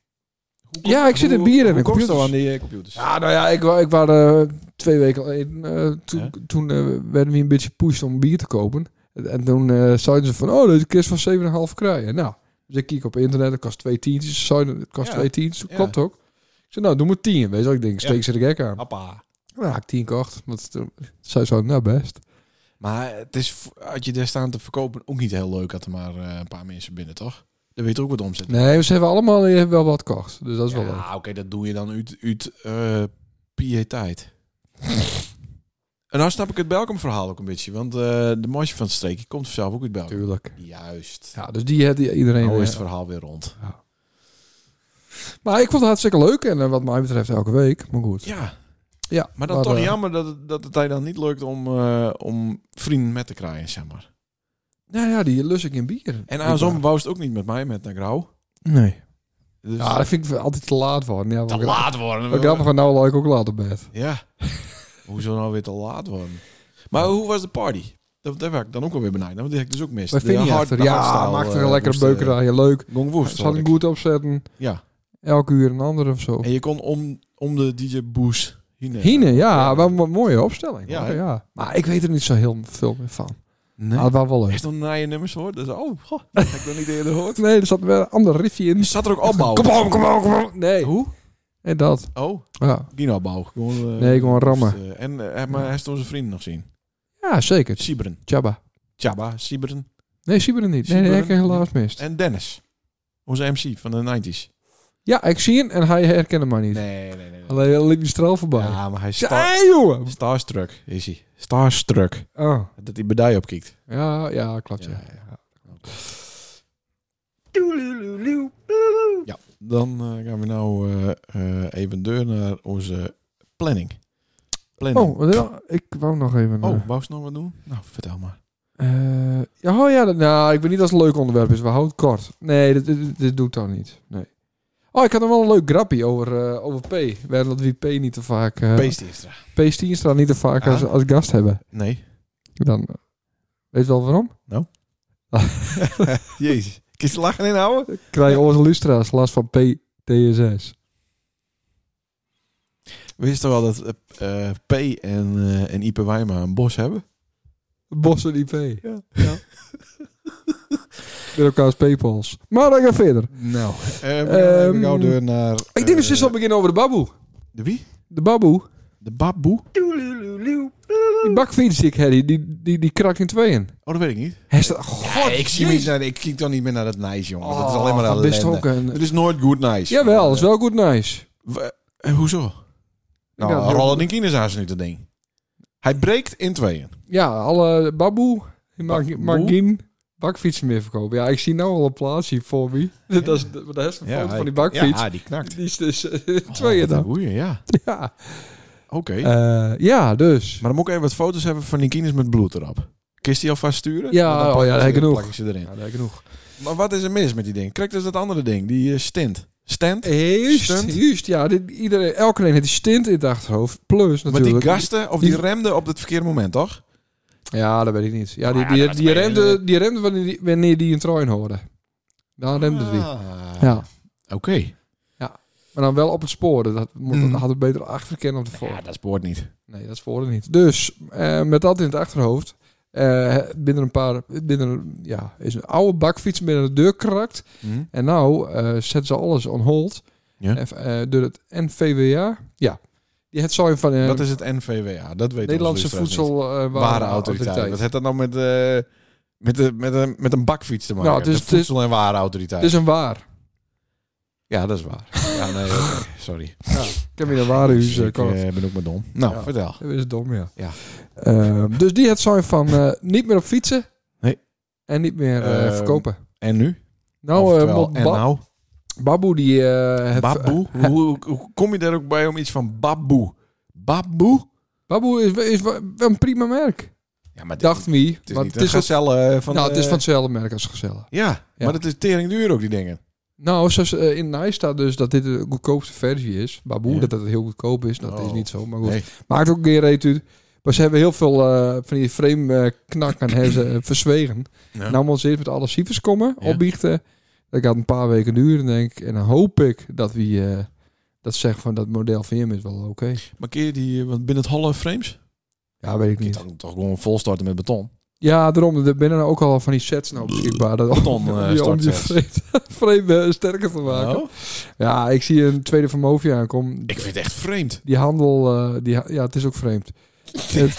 Hoe Ja, ik zit in bier en hoe de komst computers. zo aan die eh, computers? Ja, nou ja, ik, wa- ik was eh, twee weken alleen. eh, toen Ja. toen eh, werden we een beetje pushed om bier te kopen. En, en toen eh, zeiden ze van, oh, deze kist van 7,5 krijgen. Nou, dus ik kijk op internet, het kost twee tientjes. Ze Zeiden, het kost Ja. twee tientjes, dat Ja. klopt ook. Ik zei, nou, doe maar tien. Weet je wel, ik denk, steek Ja. ze de gek aan. Appa. Nou, ik tien kocht. Want toen zei ze, nou best. Maar het is, v- had je daar staan te verkopen, ook niet heel leuk. Had er maar eh, een paar mensen binnen, toch? Dan weet je ook wat omzet. Nee, ze hebben allemaal eh, wel wat kocht. Dus dat is wel leuk. ja, oké, dat doe je dan uit, uit eh, pietijd. en nou snap ik het Belkom-verhaal ook een beetje. Want eh, de mosje van het streekje komt vanzelf ook uit Belkom. Tuurlijk. Juist. Ja, dus die had iedereen. nou eh, is het verhaal weer rond. maar ik vond het hartstikke leuk. En eh, wat mij betreft elke week. Maar goed. Ja, Ja, maar dan toch eh, jammer dat het, dat het hij dan niet lukt om, eh, om vrienden met te krijgen, zeg maar. Nou ja, die lus ik in bier. En Ik, andersom eh, wou ze het ook niet met mij met naar Grauw. Nee. Dus Ja, dat vind ik altijd te laat worden. Ja, te wat laat worden. Wat grappig, van nou lag ik ook laat op bed. Ja. Hoezo nou weer te laat worden? Maar hoe was de party? Dat, daar werd ik dan ook alweer benijd. naar, Want die heb ik dus ook mis. Wat vind je achter? Ja, maakt er een lekkere beuker aan. Ja, leuk. eh, Gong woest, Zal ik hoor hem ik. goed opzetten. Ja. Elke uur een ander of zo. En je kon om, om de DJ Boes hine. Hine, ja, wel een mooie opstelling. Ja, Ja, hè? ja. Maar ik weet er niet zo heel veel meer van. Nee. Maar het was wel leuk. Echt dan naar je nummers hoor. Dus, oh, goh, dat heb ik nog niet eerder gehoord. Nee, er zat wel een ander riffje in. Zat er ook opbouw? Kom op, kom op, kom op. Nee. Hoe? En dat. Oh, Ja, Dino-bouw. Gewoon, eh, Nee, gewoon rammen. dus, eh, en, eh, maar hij is door zijn vrienden nog zien. ja zeker. Sibren. Jabba. Chaba, Sibren. Nee, zie je er niet. Nee, nee, Sieberen? ik heb helaas mist. En Dennis. Onze MC van de 90s. Ja, ik zie hem en hij herkende mij niet. Nee, nee, nee. Alleen hij liep die straal voorbij. Ja, Ja, maar hij is star, hey, jongen. starstruck, is hij. Starstruck. Oh. Dat hij bedij opkikt. Ja, ja, klopt. Ja, Ja, ja. Dan eh, gaan we nou eh, eh, even deur naar onze planning. Planning. Oh, wat wil- ik wou nog even. eh, Oh, wou ze nog wat doen? Nou, vertel maar. eh, ja, oh ja, dat- nou, ik weet niet als het een leuk onderwerp is. We houden het kort. Nee, dit, dit, dit doe ik dan niet. Nee. Oh, ik had nog wel een leuk grappie over, eh, over P. Werden dat wie P niet te vaak... eh Peest Teenstra. P. Stienstra niet te vaak Ah. als, als gast hebben. Nee. Dan, eh, weet je wel waarom? Jezus. Kies de lachen inhouden? Krijgen onze lustra's last van PTSS. Wist je wel dat eh, eh, P en, eh, en Ipe Wijma een bos hebben? Bossen die P. Ja. Met elkaar's P-pols. Maar dan gaan we verder. Nou. eh, we gaan even Ehm, gauw door naar... eh, Ik denk dat ze dus zal beginnen over de baboe. De wie? De baboe. De baboe? Die bakfiets die ik had, die, die, die, die krakt in tweeën. Oh, dat weet ik niet. Hij staat... God, Ja, ik, zie jezus. niet naar, ik kijk dan niet meer naar dat nice, jongen. dat is Oh, alleen maar dat is toch ellende. ook een... Het is nooit good nice. Jawel, dat is wel goed nice. W- eh, hoezo? Nou, had heel Roland goed- in Kines niet dat ding. Hij breekt in tweeën. Ja, alle baboe, Baboe. Margin, bakfietsen meer verkopen. Ja, ik zie nou al een plaatsje voor me. Dat is de, dat is de foto van die bakfiets. Ja, die knakt. Die is dus eh, Oh, tweeën dan. Goeie, ja. Ja. Oké. Eh, ja, dus. maar dan moet ik even wat foto's hebben van die kines met bloed erop. Kist die alvast sturen? Ja, Want dan oh pak ja, ik dat ze- heb ik dan genoeg. Plak ik ze erin. Ja, daar genoeg. Maar wat is er mis met die ding? Kijk, dat is dat andere ding. Die eh, stint. Stent? Juist, Stunt. juist. Ja, dit, iedereen, elke een heeft die stint in het achterhoofd. Plus Maar natuurlijk... die gasten, of die Die- remden op het verkeerde moment, toch? Ja, dat weet ik niet. Oh Ja, die, ja, die, dat die, weet ik eh. remde, die remde wanneer die, wanneer die een trein hoorde. Dan remde die. Ah, Ja. Oké. Maar dan wel op het spoor. Dat moet, Mm. hadden we beter achterkennen op de voor. Ja, dat spoort niet. Nee, dat spoorde niet. Dus eh, met dat in het achterhoofd. eh, binnen een paar. Binnen, ja, is een oude bakfiets binnen de deur krakt. Hm? En nou eh, zetten ze alles on hold. Ja. En, eh, door het NVWA. Ja. Die het zo van. eh, dat is het NVWA. Dat weet Nederlandse eh, onze luisteraars niet. Warenautoriteit. voedselwarenautoriteit. Wat heeft dat nou met, eh, met, de, met, een met een bakfiets te maken? Nou, het is- De voedsel- en warenautoriteit. het is een waar. ja, dat is waar. ja, nee, oké, sorry. Ik heb hier een warenhuis. eh, ik kort. eh, ben ook maar dom. Nou, Ja. vertel. Dat is dom, ja. Ja. Ehm, dus die het zijn van eh, niet meer op fietsen. Nee. En niet meer eh, Ehm, verkopen. En nu? Nou, eh Oftewel, want en Ba- nou? Baboe die... eh het- Baboe? hoe, hoe- hoe kom je daar ook bij om iets van baboe? Baboe? Baboe is, is wel een prima merk. Ja, maar dit- Dacht wie. het is want niet het is, een gazelle eh, van... van, nou, het is eh, van hetzelfde merk als Gezellen. Ja, Ja. maar dat is tering duur ook, die dingen. Nou, zoals eh, in Nice staat dus dat dit de goedkoopste versie is. Baboe, Ja. dat het heel goedkoop is. Dat Oh. is niet zo, maar goed. Nee. Maakt ook geen reet uit. Maar ze hebben heel veel eh, van die frame eh knak en hebben ze eh, verzwegen. Ja. Nou, moet ze eerst met alle cijfers komen, Ja. opbiechten. Dat gaat een paar weken duren, denk ik. En dan hoop ik dat we eh, dat zeggen van dat model van hem is wel oké. Maar keer je die eh, want binnen het holle frames? Ja, weet ik Je niet. kan toch gewoon volstarten met beton? Ja, daarom. Er binnen ook al van die sets nou beschikbaar. Dat Beton, om- eh, om je- om je startsets. frame, frame, eh, sterker te maken. Nou, Ja, ik zie een tweede van Movi aankomen. ik vind het echt vreemd. Die handel, eh, die, ha- ja, het is ook vreemd. Het,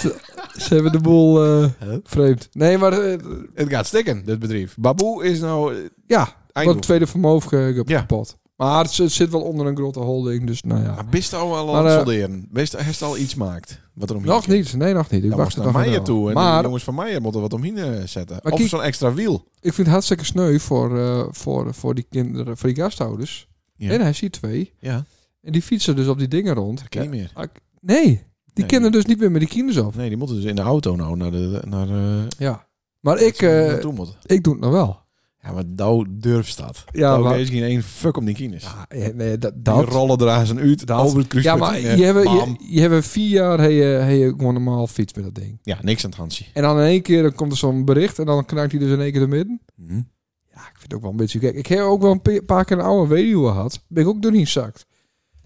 ze hebben de boel eh, Huh? vreemd. Nee, maar eh, Het gaat stikken, dit bedrijf. Baboe is nou eh, ja, wat einddoel. een tweede vermogen eh, ge- Ja. kapot. Maar het, zit- zit wel onder een grote holding, dus nou ja. Maar bist al wel Maar, aan eh, het solderen? Bist heeft al iets maakt? Wat er omheen Nog kan? niet, nee, nog niet. Ik Dan wacht wacht naar het nog Meijer even toe en de Maar jongens van Meijer moeten wat omheen eh, zetten. Maar of kijk- zo'n extra wiel. ik vind het hartstikke sneu voor, eh, voor, voor die kinderen, voor die gasthouders. Ja. En hij ziet twee. Ja, En die fietsen dus op die dingen rond. dat kan niet meer. Ah, ik- Nee, die Nee. kinderen dus niet meer met die kinders op. Nee, die moeten dus in de auto nou naar de... Naar, eh, Ja. Maar ik, ze eh, naartoe moeten. ik doe het nog wel. Ja, maar Douw durft dat. Ja, Ja, Douw maar- Oh, is geen één fuck om die kines. Ja, eh, nee, dat, die dat. rollen draaien zijn uit Dat. over het Ja, kruispunt. maar heen, eh, je hebt, bam. je, je hebt vier jaar heb je, heb je eh, gewoon normaal fiets met dat ding. Ja, niks aan het Hansie. En dan in één keer dan komt er zo'n bericht en dan knakt hij dus in één keer de midden. Hm. Ja, ik vind het ook wel een beetje gek. Ik heb ook wel een pe- paar keer een oude weduwe gehad. Ben ik ook doorheen zakt.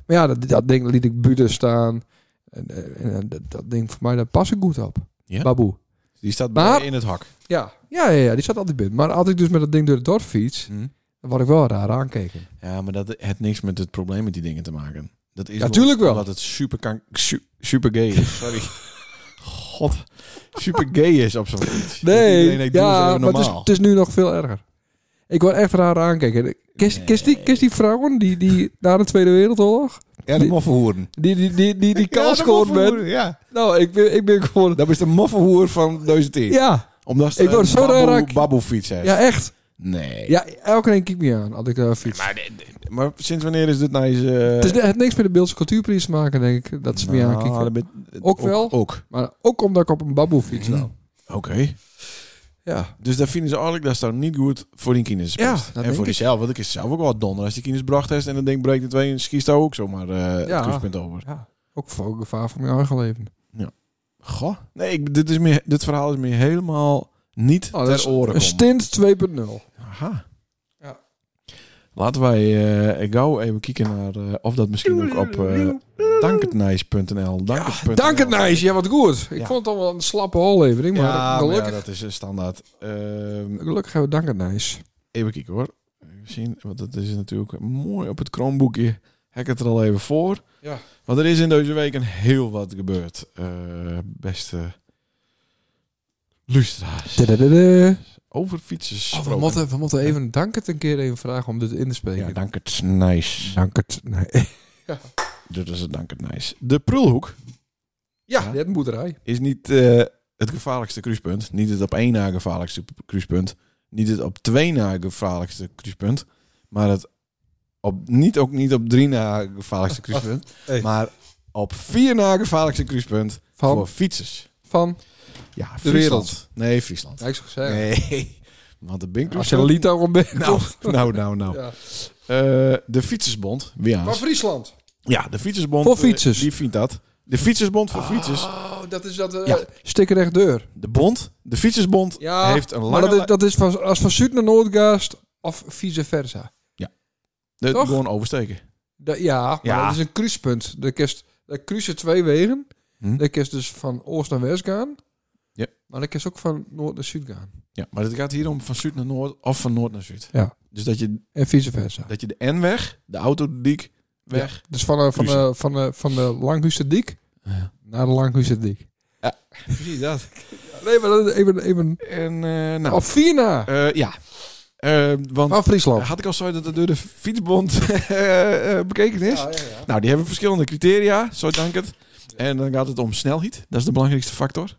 Maar ja, dat, dat ding liet ik buiten staan. En, eh, en, eh, dat, dat ding voor mij, daar pas ik goed op. Ja. Baboe. Die staat Maar- bij je in het hak. Ja. Ja, ja, ja, die zat altijd binnen. Maar als ik dus met dat ding door het dorp fiets, Hm. dan word ik wel raar aankeken. Ja, maar dat heeft niks met het probleem met die dingen te maken. Dat is Ja, tuurlijk wel. Dat het super, kan- su- super gay is. Sorry. God. Super gay is op zo'n fiets. Dat iedereen denkt, doe eens ja, even maar het is, normaal. het is nu nog veel erger. Ik word echt raar aankijken. Kist, kist, die, kist die vrouwen die, die na de Tweede Wereldoorlog, ja, de moffenhoeren. die, die, die, die, die kalskoord ja, de ben. moffenhoeren, Ja, Nou, ik ben, ik ben gewoon... dat is de moffenhoer van deze team. Ja, Omdat ze Ik word een zo baboe, raak. baboe fiets heeft. ja, echt. Nee. Ja, elke keer kijk me aan als ik eh, fiets. Maar, de- de- maar sinds wanneer is dit nou eens... eh, Het, is, het heeft niks met de Beeldse Cultuurprijs te maken, denk ik, dat ze me nou, aankijken. dat ben- Ook wel. Ook. Mm-hmm. Maar ook omdat ik op een baboe fiets nou. Oké. Ja. Dus daar vinden ze eigenlijk dat is dan niet goed voor die kinderen. Ja, dat en denk voor ik. jezelf. Want ik is zelf ook wel donder als die kinderen bracht heeft. En dan denk ik, breekt de twee en schiet daar ook zomaar eh Ja. het kruispunt over. ja. Ook voor gevaar voor mijn eigen leven. Goh. Nee, ik, dit, is meer, dit verhaal is meer helemaal niet Oh, dat is ter oren Een komen. stint 2.0. Aha. Ja. Laten wij eh, gauw even kijken naar eh, of dat misschien ook op eh danketnijs.nl. Danketnijs.nl. Dank het nice, ja wat goed. Ik Ja. vond het al wel een slappe hollevering, maar Ja, maar gelukkig, ja, dat is eh, standaard. Ehm, gelukkig hebben we dank het nice. even kijken hoor. Even zien, want dat is natuurlijk mooi op het kroonboekje. Hek het er al even voor. Ja. Want er is in deze week een heel wat gebeurd. Eh, beste luisteraars. Dadadada. Over fietsers Oh, we, gesproken. moeten, we moeten even dank het een keer even vragen om dit in te spreken. Ja, dank het nice. Dank het. Nee. Dit is het dank het nice. De prulhoek Ja, net een boerderij. is niet eh, het gevaarlijkste cruispunt. Niet het op één na gevaarlijkste cruispunt. Niet het op twee na gevaarlijkste cruispunt. Maar het op, niet, ook niet op drie na gevaarlijkste cruispunt. Hey. Maar op vier na gevaarlijkste cruispunt voor Van, fietsers. van Ja, Friesland. wereld. Nee, Friesland. ja, ik zou zeggen. Nee. Want de Als je Binkcruispunt... een lied daarom bent. Nou, nou, nou, nou. Ja. Eh, de Fietsersbond, weer Van aan. Friesland. Ja, de Fietsersbond. Voor eh, fietsers. die vindt dat. De Fietsersbond voor fietsers. Oh, dat is dat... eh Ja. Stikkerrecht deur. De bond, de Fietsersbond, Ja, heeft een Maar lange... dat is, dat is van, als van Zuid naar Noordgaast of vice versa. li- de- toch? Gewoon oversteken. Da- ja, maar Ja. dat is een kruispunt. Daar kerst, daar kruisen twee wegen. Hm. Daar kerst dus van oost naar west gaan. Ja. Maar daar kerst ook van noord naar zuid gaan. Ja, maar het gaat hier om van zuid naar noord of van noord naar zuid. Ja. Dus dat je, En vice versa. dat je de N-weg, de autodiek weg. Dus van, eh, van, Kruisen. eh, van, eh, van de Langhuister Diek Ja. naar de Langhuister Diek. Precies dat. Nee, maar dat is even... even En eh, nou, Op vier na. eh, ja. Eh, want Van Friesland. had ik al zo dat het door de Fietsbond eh, eh, bekeken is? Nou, die hebben verschillende criteria, zo dank het. En dan gaat het om snelheid. Dat is de belangrijkste factor.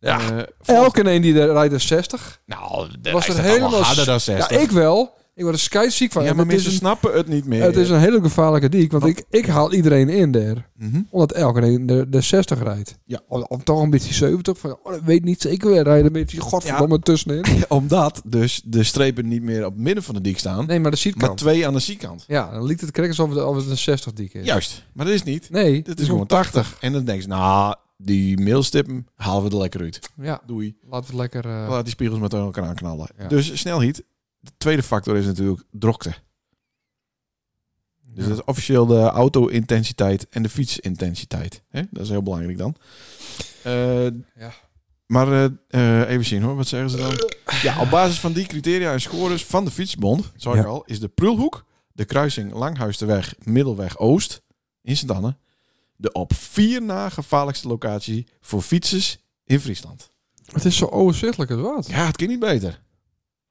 Ja. Eh, volgens- Elke een die er rijdt is 60. Nou, dat is Was er toch allemaal helemaal... harder dan 60. Ja, ik wel. Ik word er scheidsziek van. Ja, maar het, is mensen een, snappen het niet meer. het is een hele gevaarlijke diek. Want Want- ik, ik haal iedereen in daar. Mhm. Omdat elke een de, de 60 rijdt. Ja. Of, of toch een beetje 70. Van, oh, dat weet ik niet zeker. Weer rijden een beetje godverdomme tussenin. Omdat dus de strepen niet meer op het midden van de dik staan, Nee, maar de maar zietkant. twee aan de zijkant. Ja, dan liet het krek alsof het, alsof het een 60 diek is. Juist, maar dat is niet. Nee, Dit is gewoon 80. En dan denk je, nou, die mailstippen halen we er lekker uit. Ja, Doei. laten we het lekker... eh, Laat die spiegels met elkaar aanknallen. Ja. Dus snelheid. De tweede factor is natuurlijk drokte. Dus ja. dat is officieel de auto-intensiteit en de fietsintensiteit. Hè? Dat is heel belangrijk dan. Eh, Ja. Maar eh, eh, even zien hoor, wat zeggen ze dan? Eh. Ja, op basis van die criteria en scores van de fietsbond, zoals Ja. ik al, is de Prulhoek, de kruising Langhuisterweg, Middelweg Oost in sint Anne, de op vier na gevaarlijkste locatie voor fietsers in Friesland. Het is zo overzichtelijk het wat. Ja, het kan niet beter.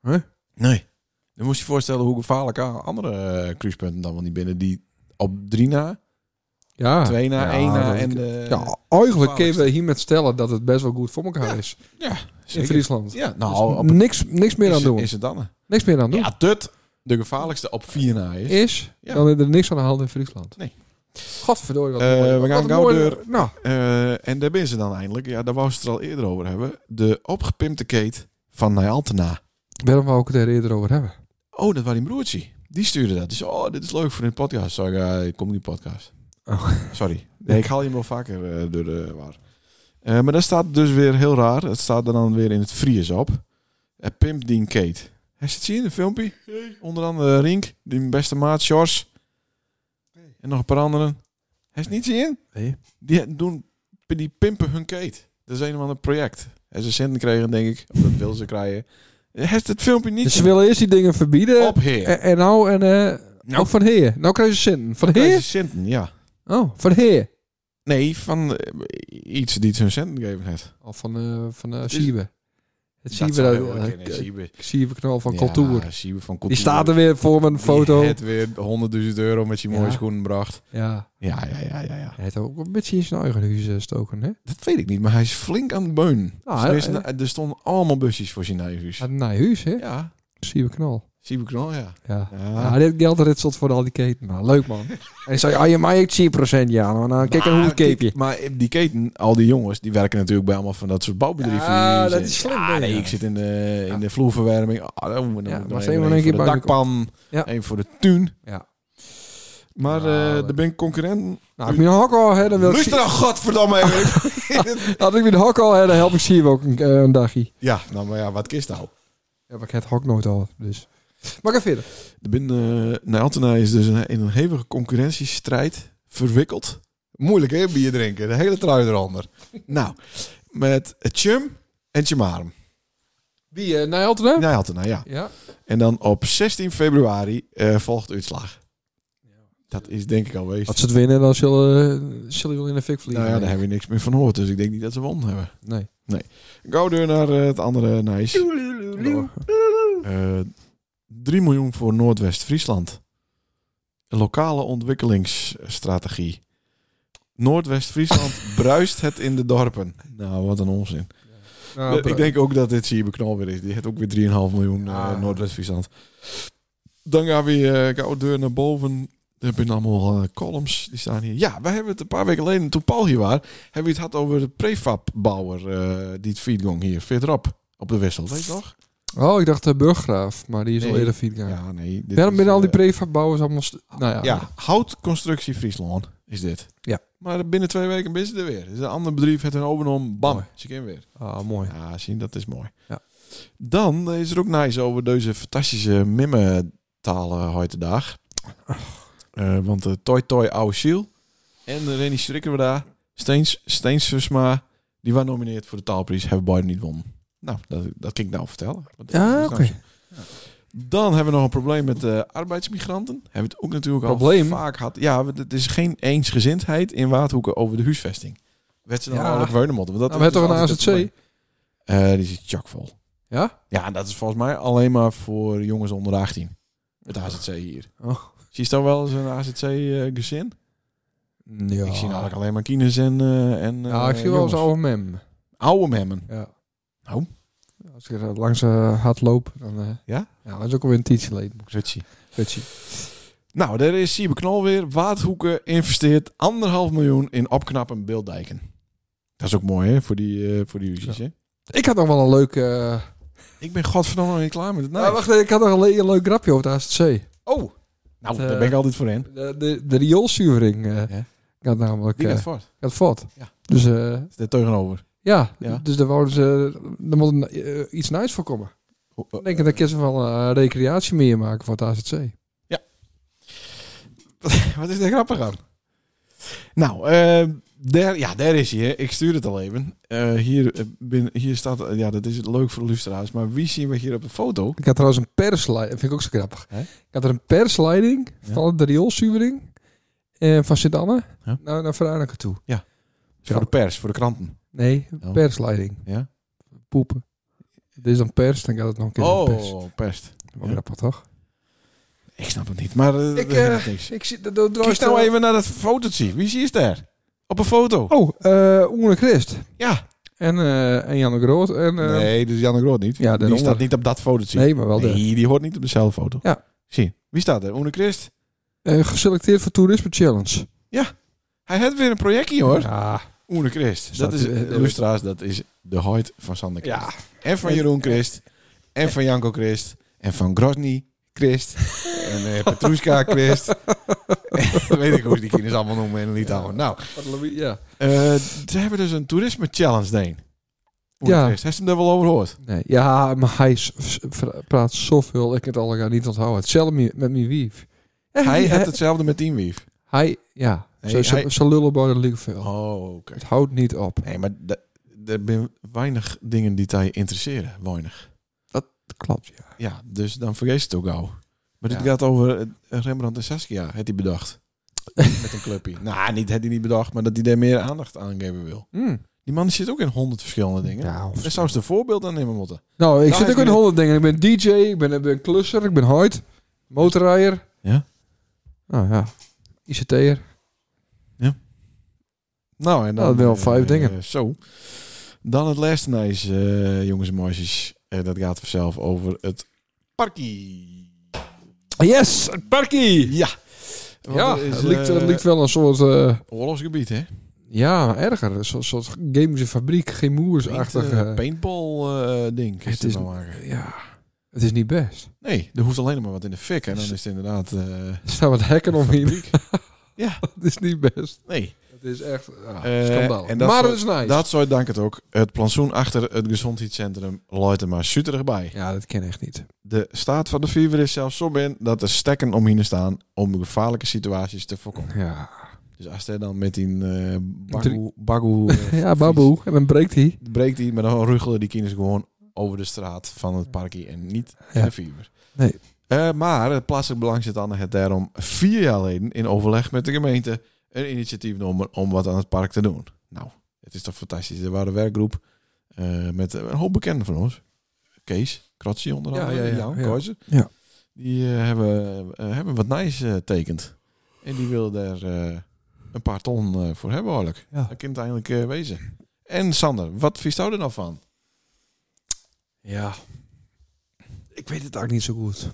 Hè? Nee. Dan moest je je voorstellen hoe gevaarlijk aan andere eh, cruisepunten dan wel niet binnen die op drie na Ja. Twee na, Ja, één na dat- en de... Ah. ja, eigenlijk gevaarlijkste. kunnen we hiermet stellen dat het best wel goed voor elkaar Ja, is. In Zeker. Friesland. Ja, Dus nou, op niks, niks meer is, aan doen. Is het dan? niks meer aan doen. Ja, tut. De gevaarlijkste op vier na is. is, Ja. dan is er niks aan de hand in Friesland. Nee. Godverdorie. Wat Eh, mooi. we Wat gaan een gauw mooie- door. Nou, Eh, en daar ben ze dan eindelijk. Ja, daar wou ze het er al eerder over hebben. De opgepimpte keet van Nijaltena. waarom wou ik het er eerder over hebben? Oh, dat was die broertje. Die stuurde dat. Die zei, oh, dit is leuk voor een podcast. Sorry, ja, ik kom niet in de podcast. Oh. Sorry. Nee, ik haal je wel vaker eh, door de war. Eh, maar dat staat dus weer heel raar. Het staat er dan weer in het Fries op. Eh, Pimp Dean Kate. Hij zit zien in een filmpje. Onder andere Rink, die beste maat, Sjors. En nog een paar anderen. Hij is niet zien. Nee. Die, doen, die pimpen hun Kate. Dat is een of ander project. En ze centen kregen, denk ik. Of dat wil ze krijgen. Hij is het filmpje niet Dus ze willen eerst die dingen verbieden. op heer. En, en nou, en eh, Nou. ook van heer. Nou krijg je zin. Van Keizer heer? Sinten, ja. Oh, van heer. Nee, van eh, iets die ze hun centen gegeven heeft. Of van, eh van eh Het is- Siebe. Het Dat Siebe, zou dat- heel leuk zijn, hè, eh, Siebe. Siebe knal van Ja, cultuur. Siebe van Die cultuur. staat er weer voor mijn foto. Die Het weer 100.000 euro met je mooie Ja. schoenen bracht. Ja, Ja, ja, ja, ja, ja. hij heeft ook een beetje in zijn eigen huis eh, stoken, hè? Dat weet ik niet, maar hij is flink aan het beun. Nou, Dus er, is hij- Ah, na- er stonden allemaal busjes voor zijn eigen huis. Uit een huis, hè? Ja, Zie we knal. Cyberknol, ja. Ja. Ja. Ja, dit geld ritselt voor al die keten. Nou, leuk man. en zei, ah, je maakt 10% ja, maar dan kijk een Maar hoe keepje. Ah, die- Maar die keten, al die jongens, die werken natuurlijk bij allemaal van dat soort bouwbedrijven. Die Ja, dat zeggen, is slim, "Ah, hè, nee, ja." ik zit in de, in de vloerverwarming. Ah, dan moet ik Ja, nog maar even ze hebben een één keer voor de buik op. dakpan, Ja. één voor de tuin. Ja. Maar eh Nou, er ben ik concurrent. Nou, heb ik mijn hok al, hè, dan wil ik... Luister dan, godverdamme. even. Had ik mijn hok al, hè, dan help ik Sieve ook een, eh, een dagje. ja, nou maar ja, wat kist nou? Ja, maar ik heb het hok nooit al, dus... Maar ik ga verder. Er ben, eh nou, Altena is dus een, in een hevige concurrentiestrijd verwikkeld. Moeilijk hè, bier drinken. De hele trui eronder. nou, met Chum en Chumarum. Wie, uh, Nijl hè? Nou, Altena, ja. Ja. En dan op 16 februari eh, volgt de uitslag. Dat is denk ik al geweest. Als ze het winnen, dan zullen, eh, zullen jullie in de fik vliegen. Nou ja, daar heb je niks meer van gehoord. Dus ik denk niet dat ze won hebben. Nee. Go door naar eh, het andere nice. Nou, Eh 3 miljoen voor Noordwest-Friesland. Een Lokale ontwikkelingsstrategie. Noordwest-Friesland bruist het in de dorpen. Nou, wat een onzin. Nou, Eh, ik denk ook dat dit Siebe Knol weer is. Die heeft ook weer 3,5 miljoen eh, Ah. Noordwest-Friesland. Dan gaan we eh gauw deur naar boven. Er zijn allemaal eh, columns, die staan hier. Ja, wij hebben het een paar weken geleden, toen Paul hier was, hebben we het gehad over de prefabbouwer, eh die het Vietgong hier, Fitrop, op de wissel. Weet je nog? Oh, ik dacht de Burggraaf, maar die is al Nee. eerder fietganger. Ja. nee. dit Waarom is, binnen al eh, die prefab-bouwers allemaal... st- Nou ja. Ja, houtconstructie Friesland is dit. Ja. Maar binnen twee weken ben ze er weer. Dus een ander bedrijf heeft een overnom. Bam, Mooi. ze kunnen weer. Ah, mooi. Ja, zien, dat is mooi. Ja. Dan is er ook nice over deze fantastische mimme-talen heute dag. Eh, want de Toy Toy Oude Ziel en Rennie Schrikkerda, Steens, Steens Susma, die waren nomineerd voor de taalprijs, hebben beide niet gewonnen. Nou, dat, dat kan ik nou vertellen. Want dat is Ja, nou Ah, oké. zo. Dan hebben we nog een probleem met de arbeidsmigranten. Hebben we het ook natuurlijk Probleem? al vaak gehad. Ja, want het is geen eensgezindheid in Waardhoeken over de huisvesting. Werd ze dan Ja. al op Weunemotten? Want dat Nou, we is hebben toch een dus altijd AZC? het probleem. Eh, die zit chockvol. Ja? Ja, en dat is volgens mij alleen maar voor jongens onder de 18. Het AZC hier. Oh. Zie je dan wel eens een AZC-gezin? Ja. eh, Ik zie namelijk alleen maar kines en, eh en Ja, ik zie wel eens oude mem. oude memmen. Ja. Oh. Als ik er langs eh, hard loop, dan... eh, Ja? Ja, dat is ook alweer een tijdje Rutsie. Weet je. Nou, daar is Siebe Knol weer. Waardhoeken investeert anderhalf miljoen in opknappen beelddijken. Dat is ook mooi, hè, voor die, eh, voor die uzies, hè? Ik had nog wel een leuk... eh, Ik ben godverdomme nog niet klaar met het Nou, wacht, ik had nog een, le- een leuk grapje over de AZC. Oh! Nou, Eh, daar ben ik altijd voor in. De, de, de rioolzuivering eh Ja. gaat namelijk Die eh, gaat voort. gaat fout. Ja. Dus eh, Dat is er tegenover. ja, Ja. dus daar wouden ze, daar moet een, eh, iets nice voor komen. Ho- Ik denk dat ik ze wel eh, recreatie meer maken voor het AZC. Wat is er grappig aan? Nou, eh, daar, ja, daar is hij. hè. Ik stuur het al even. Eh, hier, eh, bin- hier staat, eh, ja, dat is het leuk voor de luisteraars. Maar wie zien we hier op de foto? Ik had trouwens een persleiding, vind ik ook zo grappig. Hè? Ik had er een persleiding Ja. van de rioolzuivering eh, van Sint-Anne Ja. naar, naar Veronica toe. Voor de pers, voor de kranten. Nee, Oh. persleiding. Ja. Poepen. Dit is dan pers, dan gaat het nog een keer naar pers. Oh, pers. Wel ja. grappig, toch? Ik snap het niet, maar eh, Ik, dat heeft eh, niks. Ik zie, dat, dat, Kijk nou even naar dat fotootje. Wie zie je daar? Op een foto. Oh, eh Oene Christ. Ja. En, eh en Janne Groot. En, eh, nee, dus Janne Groot niet. Ja, die daaronder. staat niet op dat fotootje. nee, maar wel de. Nee, die hoort niet op dezelfde foto. Ja. Zie, wie staat er? Oene Christ. Eh, geselecteerd voor Toerisme Challenge. Ah, Hij heeft weer een projectje hoor. Ja, Oene Christ. Staat Dat is, die- eh, luisteraars, dat is de huid van Sander Christ. ja. En van Jeroen Christ. En van Janko Christ. En van Grozny Christ. En eh Petruska Christ. Weet ik hoe ze die kinderen allemaal noemen in Litouwen. Nou, ja. eh, ze hebben dus een toerisme challenge, Deen. Oene Ja. Christ. Heeft ze hem daar wel over gehoord? Nee, ja, maar hij s- s- vra- praat zoveel. Ik kan het allemaal niet onthouden. Hetzelfde mi- met mijn wief. Eh, Hij die- heeft hetzelfde met Teamweef. Hij, ja. Nee, zo, zo, hij- zo lullen worden liegen veel. Oh, oké. Het houdt niet op. Nee, maar da- er zijn weinig dingen die hij interesseren. Weinig. Dat klopt, ja. Ja, dus dan vergeet je het ook al. Maar dit Ja. gaat over eh, Rembrandt en Saskia. Heeft hij bedacht. met een clubje. Nou, niet heeft hij niet bedacht, maar dat hij daar meer aandacht aan geven wil. Mm. Die man zit ook in honderd verschillende dingen. Ja, of- Daar zou ze een voorbeeld aan nemen moeten. Nou, ik Nou, zit hij ook in is- honderd dingen. Ik ben DJ, ik ben, ik ben klusser, ik ben huid, motorrijder. Ja. Nou ja, ICT'er. Nou, en dan... dat zijn wel eh, vijf dingen. eh, Zo. Dan het laatste nice, eh, jongens en meisjes. Eh, dat gaat vanzelf over het parkie. Yes, het parkie! Ja. Ja, Want er is, het lijkt, het eh, lijkt wel een soort... eh, Oorlogsgebied, hè? ja, erger. Een soort, soort chemische fabriek, Paint, chemoersachtige... eh, paintball-ding. het is- ja, het is niet best. Nee, er hoeft alleen maar wat in de fik. En dan is het inderdaad... eh, Er staan wat hekken omheen. Ja. het is niet best. nee. Het is echt ah, Eh, schandaal. en dat maar soort- het is nice. Dat zou dank het ook. Het plantsoen achter het gezondheidscentrum looit er maar zuterig bij. Ja, dat ken echt niet. De staat van de fever is zelfs zo in dat er stekken omheen staan om gevaarlijke situaties te voorkomen. Ja, Dus als hij dan met die eh bagoe... Drie- bagoe eh, ja baboe. En dan breekt hij. breekt hij, maar dan ruggelen die kinderen gewoon over de straat van het parkje en niet in Ja. de fiber. Nee. Eh, maar het plaatselijk belang zit aan het daarom vier jaar geleden in overleg met de gemeente een initiatief genomen om wat aan het park te doen. Nou, het is toch fantastisch. Er waren een werkgroep eh, met een hoop bekenden van ons. Kees, Kratzi onder Ja, andere, ja, ja, Jan ja. Kooijzer. Ja. Die eh, hebben, eh, hebben wat nice eh, tekend. En die wilden daar eh, een paar ton eh, voor hebben, hoorlijk. Ja. Dat kind eindelijk eh, wezen. En Sander, wat vies jou er nou van? Ja. Ik weet het eigenlijk niet zo goed.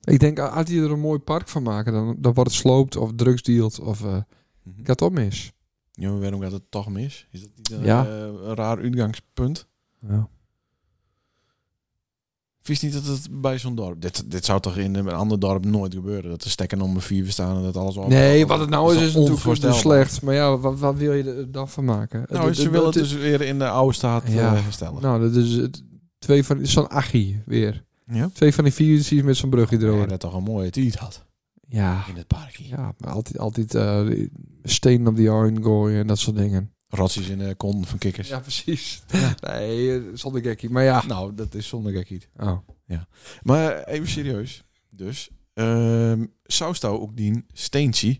Ik denk, ah, als die er een mooi park van maken, dan, dan wordt het sloopt of drugs dealt of eh gaat op mis. Ja, maar waarom gaat het toch mis? Is dat niet een, Ja. eh, een raar uitgangspunt? Ja. Vies niet dat het bij zo'n dorp... Dit, dit zou toch in een ander dorp nooit gebeuren? Dat de stekken om een vier bestaan en dat alles... op- Nee, wat het nou is, is natuurlijk goed en onvoorstelbaar. slecht. Maar ja, wat, wat wil je er dan van maken? Nou, Het- ze willen het het- dus weer in de oude staat eh, Ja. herstellen. Nou, dat is het- twee van... het is Zo'n achie weer. ja? Twee van die viertjes met zo'n brugje Ja, erover. dat toch een mooie tijd had Ja. in het parkje. Ja, maar altijd, altijd eh, stenen op die iron gooien en dat soort dingen. Ratsies in de kon van kikkers. precies. Nee, eh, zonder gekkie. Maar ja. Nou, dat is zonder gekkiet. Oh. Maar even serieus. Dus, ehm zou Stouw ook die steentje,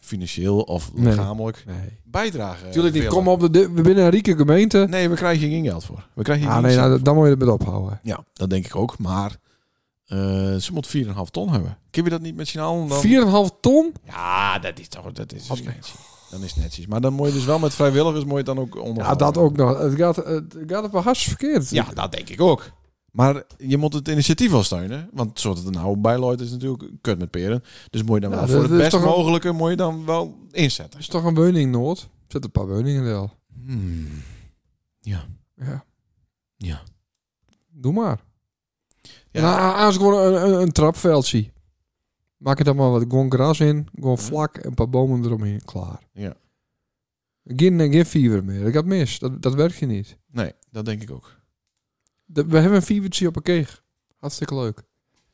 financieel of Nee. lichamelijk, Nee. bijdragen? Tuurlijk niet. willen? Kom op, de, de- we binnen een rieke gemeente. Nee, we krijgen hier geen geld voor. We krijgen hier ah, geen nee, cent nou, voor. dat- dan moet je het met ophouden. Ja, dat denk ik ook. Maar eh, ze moet 4,5 ton hebben. Kun je dat niet met z'n allen dan? 4,5 ton? Ja, dat is toch dat is een Oh, nee. steentje. Dan is het netjes. Maar dan moet je dus wel met vrijwilligers moet je het dan ook onder. Ja, dat ook nog. Het gaat, het gaat op een hars verkeerd. Ja, dat denk ik ook. Maar je moet het initiatief wel steunen. Want zoals het er nou bij Lloyd is natuurlijk kut met peren. Dus moet je dan Ja, wel dat- voor het dat is best toch een- mogelijke moet je dan wel inzetten. is toch een woning nood? Zet een paar woningen wel. Hmm. Ja. Ja. Doe maar. Ja. Ja. Nou, als ik gewoon een, een, een trapveldje. Maak er dan maar wat gewoon gras in, gewoon vlak en een paar bomen eromheen. Klaar. Ja. Geen, eh, geen fever meer. Dat gaat mis. Dat, dat werkt je niet. Nee, dat denk ik ook. De- we hebben een fevertje op een keeg. Hartstikke leuk.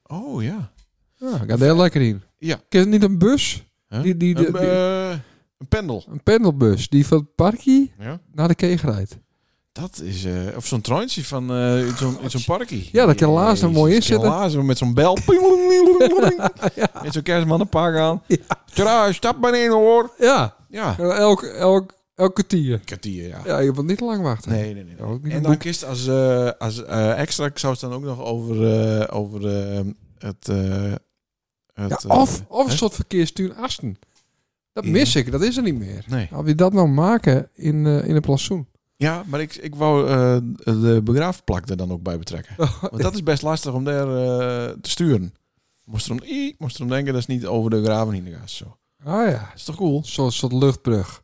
Oh ja. Ja, gaat heel lekker in. Ja. Is het niet een bus? Huh? Die, die, die- een, die- eh, een pendel. een pendelbus die van het parkje Ja. naar de keeg rijdt. Dat is... eh, of zo'n troontje van eh in zo'n in zo'n parkie. Ja, dat kan lazen Jezus, mooi dat inzetten. kan lazen met zo'n bel. Met zo'n kerstman een paar gaan. Ja. Tja, stap maar in hoor. Ja, Ja. elk, elk, elk kwartier. Kwartier, ja. Ja, je moet niet te lang wachten. Nee, nee, nee. Ja, ook niet en een dan boek. kist als, eh, als eh, extra, ik zou het dan ook nog over, eh, over eh, het... eh, het ja, of eh, of hè? een soort verkeersstuur Asten. Dat Ja. mis ik, dat is er niet meer. Nee. Had je dat nou maken in, eh, in een plantsoen? Ja, maar ik, ik wou eh, de begraafplak er dan ook bij betrekken. Want dat is best lastig om daar eh, te sturen. Moest erom, i, moest erom denken, dat is niet over de graven heen gaat. Zo. Ah ja, Dat is toch cool? zo'n soort luchtbrug.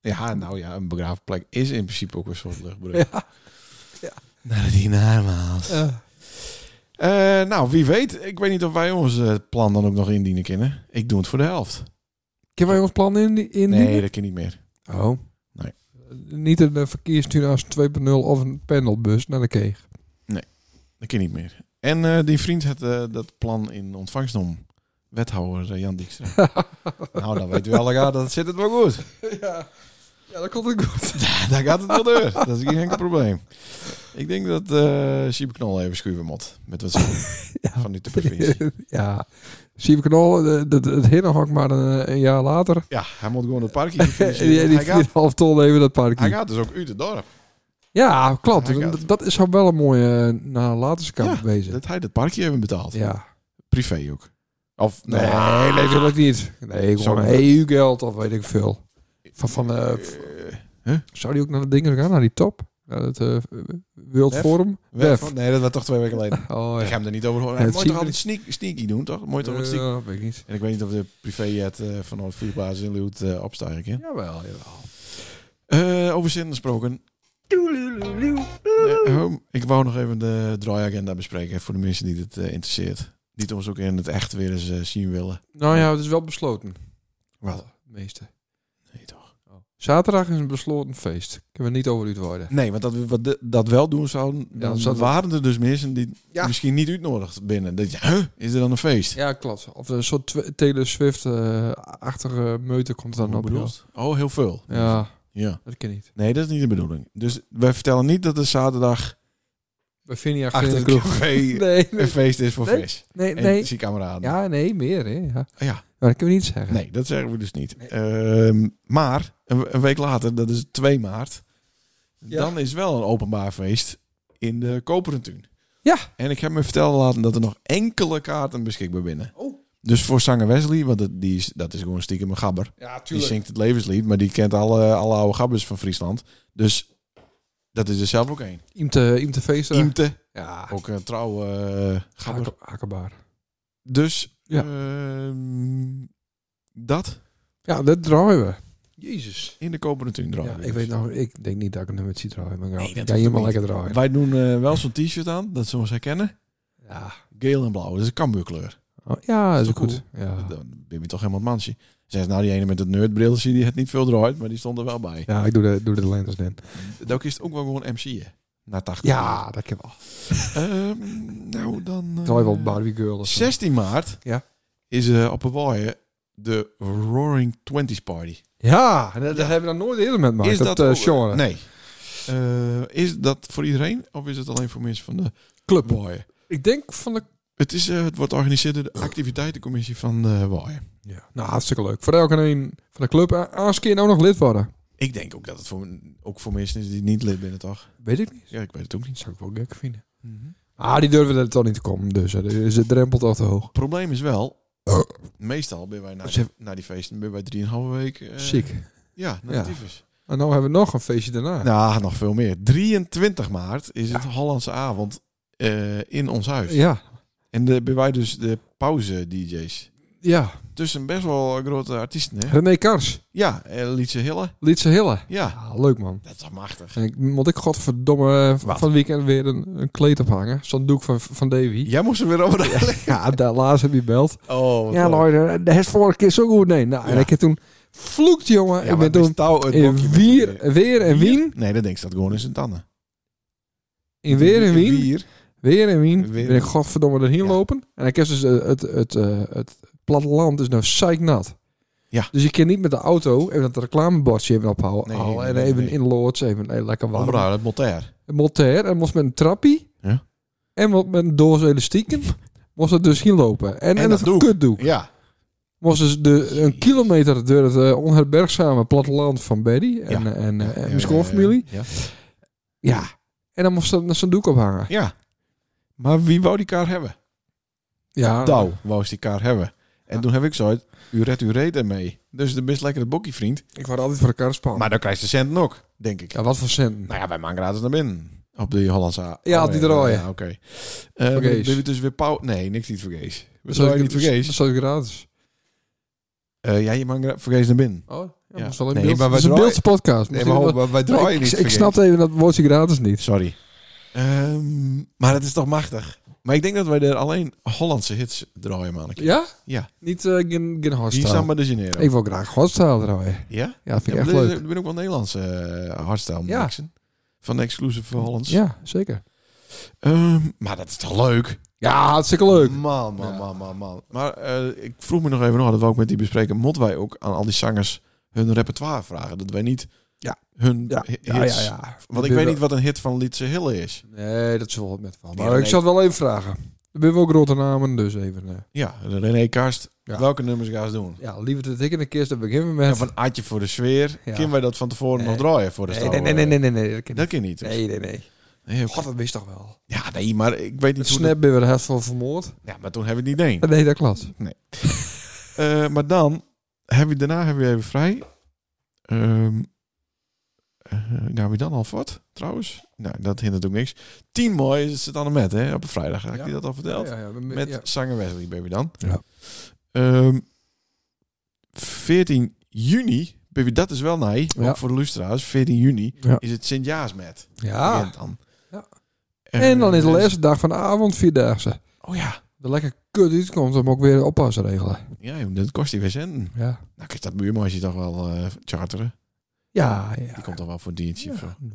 Ja, nou ja, een begraafplek is in principe ook een soort luchtbrug. Ja. Naar die naarmaals. Eh, Eh, nou, wie weet. Ik weet niet of wij ons eh, plan dan ook nog indienen kunnen. Ik doe het voor de helft. kunnen wij ons plan in, in Nee, dat kan niet meer. Oh. Nee. Niet een eh, verkeersstuur Asten 2.0 of een pendelbus naar de keeg. Dat kan niet meer. En eh, die vriend had eh, dat plan in ontvangst genomen. Wethouder eh, Jan Dijkstra. nou, dan weten we al elkaar, dat zit het wel goed. ja. ja, dat komt ook goed. Daar gaat het wel door. Dat is geen enkel probleem. Ik denk dat eh Siep Knol even schuiven moet. Met wat ze- van die de provincie. ja. Zie ik knol, eh, dat- het Hinnenhok maar een, een jaar later. Ja, hij moet gewoon het parkje En financieren. die, die hij, gaat, 4,5 ton even dat hij parkje. gaat dus ook uit het dorp. Ja, klopt. Hij En gaat- dat- Dat is wel een mooie uh, nalatenschap Ja, wezen. Dat hij dat parkje heeft betaald. Ja. Privé ook. Of nee. Nee, nee, natuurlijk niet. Nee, Zou gewoon een EU-geld of weet ik veel. Van, van eh, Eh, zou die ook naar de dingen gaan, naar die top? Ja, dat eh World Wef? Forum. Wef. Nee, dat was toch twee weken geleden. Oh Ik ga ja. hem er niet over horen. Ja, Hij het moet zie toch ik altijd sneak, sneaky doen, toch? Moet je toch wat sneaky Ja, weet ik niet. En ik weet niet of de privéjet eh van de vliegbasis in Leeuwarden eh, opstijgen kan. Jawel, jawel. Eh, over zin gesproken. Eh, oh, ik wou nog even de draaiagenda bespreken voor de mensen die dit eh, interesseert. Niet ons ook in het echt weer eens eh, zien willen. Nou ja, het is wel besloten. Wat? Alle meeste. Nee toch? Zaterdag is een besloten feest. Kunnen we niet over worden. Nee, want dat we wat de- dat wel doen zouden, dan dan zouden we- waren er dus mensen die Ja. misschien niet uitnodigd binnen. Dat je, huh, is er dan een feest? Ja, klopt. Of een soort tw- Taylor Swift-achtige meute komt er dan Hoe op. bedoeld? joh. Oh, heel veel. Ja, ja. dat ken ik niet. Nee, dat is niet de bedoeling. Dus wij vertellen niet dat er zaterdag Bij Vinia achter de het kroeg. café Nee, een feest is voor Nee. vis. nee, En nee. zie kameraden. Ja, nee, meer. Hè. Oh Ja. Ah, ja. Maar dat kunnen we niet zeggen. Nee, dat zeggen we dus niet. Nee. Ehm, maar een, een week later, dat is 2 maart, Ja. dan is wel een openbaar feest in de Koperentuin. Ja. En ik heb me vertellen laten dat er nog enkele kaarten beschikbaar binnen. Oh. Dus voor zanger Wesley, want het- die is, dat is gewoon stiekem een gabber. Ja, Die zingt het levenslied, maar die kent alle, alle oude gabbers van Friesland. Dus dat is er zelf ook één. Imte, Imte Feesten. Imte, Ja, ook een trouwe eh, gabber. Hake- Hakebaar. Dus Ja. ehm, dat Ja, dat draaien we. Jezus. in de Koperentuin draaien. Ja, we ik dus. weet nou, ik denk niet dat ik een nummertje draai. Nee, Maar ik dat kan hoeft je maar niet. lekker draaien. Wij doen eh, wel zo'n t-shirt aan, dat ze ons herkennen. Ja, Geel en blauw, dat is een Cambuurkleur. Oh, ja dat is toch ook goed. Ja. Dan ben je toch helemaal het mansje. Zij is nou die ene met het nerdbrilletje, die het niet veel draait, maar die stond er wel bij. ja, ik doe de, doe de lentes dan. Dat is het ook wel gewoon MC'en. Na 80 Ja, dat kan wel. Ehm, nou, dan... eh, Draai wel Barbie Girl. of zo. 16 maart Ja. is eh, op Hawaii de Roaring Twenties Party. Ja, en dat, dat hebben we dan nooit eerder met gemaakt. is dat, eh, ook- genre. Nee. Eh, is dat voor iedereen of is het alleen voor mensen van de Club. Hawaii? Ik denk van de... Het, is, eh, het wordt georganiseerd door de activiteitencommissie van de Hawaii. Ja. Nou, hartstikke leuk. Voor elke een van de club. Eh, Als keer nou nog lid worden. Ik denk ook dat het voor, ook voor mensen is die niet lid binnen toch? Weet ik niet. Ja, ik weet het ook niet. Dat zou ik wel gek vinden. Ah, die durven er toch niet te komen. Dus eh, is de drempel toch te hoog. probleem is wel, Oh. meestal ben wij na, Ze- na die feesten ben wij drieënhalve week... eh, Ziek. Ja, na Ja. de tyfus. En nou hebben we nog een feestje daarna. Nou, nog veel meer. 23 maart is het Hollandse avond eh, in ons huis. Ja. En de, ben wij dus de pauze-dj's. Ja. Tussen best wel grote artiesten, hè? René Kars. Ja, eh, Lietse Hille. Lietse Hille. Ja, Ja, leuk man. dat is toch machtig. En ik, moet ik godverdomme eh, Wat? van het weekend weer een, een kleed ophangen. Zo'n doek van, van Davy. Jij moest er weer over nadenken. Ja, daar laatst heb je belt. Oh, wat Ja, leuk. Lloyd, de is vorige keer zo goed. Nee, nou, en Ja. ik heb toen vloekt, jongen. Ja, ik maar ben het is toen touw het in blokje met- Wier, Weer Wier? en Wien. Nee, dat denk ik dat gewoon in zijn tanden. In Weer en Wien. Wier. Weer en Wien. Weer. Ben ik godverdomme erheen Ja. lopen. En ik heb dus eh, het, het, eh, het platteland is nou zeiknat. Ja. Dus je kan niet met de auto even dat reclamebordje even ophouden. Nee, halen en nee, even nee. in loods, even eh, lekker warm. Onderhoud, het Motair. Een Motor, en moest met een trappie. Ja. En wat met een doos elastieken. moest het dus heen lopen. En, en, dat het doek. kutdoek. Ja. was dus de, een kilometer door het eh, onherbergzame platteland van Betty en, Ja. eh, en, eh, en Ja, ja, mijn schoonfamilie. Ja. Ja. En dan moest ze naar zijn doek ophangen. Ja. Maar wie wou die kaart hebben? Ja. Douw wou ze die kaart hebben. En Ja. toen heb ik zoiets, u redt, u reed ermee. Dus de best lekkere bokkie, vriend. Ik word altijd voor elkaar spannen. Maar dan krijgt de centen ook, denk ik. ja, wat voor centen. Nou ja, wij maken gratis naar binnen. Op die Hollandse... Oh, Ja, op die draaien. Ja, oké. Eh maar Vergees. ben je dus weer pauw... Nee, niks niet vergees. We Dat zijn ik- niet vergees. Dat zou ik gratis. Eh ja, je mag gra- vergees naar binnen. Oh, ja, Ja. dat is wel een Nee, beeld. maar Dat is wij een draaien- beeldse podcast. Nee, maar ho, wij- wij draaien ik, niet ik vergees. snapte even dat woordje gratis niet. Sorry. Ehm, maar het is toch machtig. Maar ik denk dat wij er alleen Hollandse hits draaien, manneke. Ja? Ja. Niet eh geen, geen Die hardstyle. Samba de Janeiro. Ik wil graag hardstyle draaien. Ja? Ja, dat vind Ja, ik maar echt er- leuk. Er ben ook wel Nederlandse eh, hardstyle Ja. mixen. Van de Exclusive Hollands. Ja, zeker. Ehm, maar dat is toch leuk? Ja, hartstikke leuk. Man, man, Ja. man, man, man. Maar eh, ik vroeg me nog even nog, dat we ook met die bespreken. Mot wij ook aan al die zangers hun repertoire vragen? Dat wij niet Ja. hun Ja, hi- ja, hits... ja, ja. Want ik weet niet wat een hit van Lietse Hille is. Nee, dat zullen we het met van. Maar Ja, ik nee. zal het wel even vragen. We hebben ook grote namen, dus even. eh, Ja, René Karst. Ja. Welke nummers gaan ze doen? ja, liever dat ik in de kist dan beginnen we Ja, met. van Adje voor de sfeer. Ja. Kunnen wij dat van tevoren Nee. nog draaien voor de nee, stal? nee, nee, nee, nee, nee, nee, dat kan Dat kan niet. niet. Nee, nee, nee. Nee, oké. God, dat wist toch wel. Ja, nee, maar ik weet Het niet hoe... dat- snap ben we het van vermoord. Ja, maar toen hebben we het niet één. Nee, dat klopt. Eh, maar dan, heb je, daarna hebben we even vrij. Ehm eh, gaan we dan al voort? trouwens. Nou, dat hindert ook niks. 10 mooi is het aan de met, hè? Op een vrijdag had ik Ja. die dat al verteld. Ja, ja, we- Met ja. zanger Wesley ben je dan. Ja. Ehm, 14 juni, ben je dat is wel nee, Ja. ook voor de lustra's. 14 juni Ja. is het Sint-Jaarsmet. Ja. Begint Dan. Ja. Eh, En dan is de dus- laatste dag van de avond, vierdaagse. Oh ja. De lekker kut uitkomt om ook weer oppas te regelen. Ja, joh, dat kost die weer centen. Ja. Nou, kijk, dat buurmansje toch wel eh, charteren. Ja, ja. Die komt dan wel voor een diertje of zo. Ja.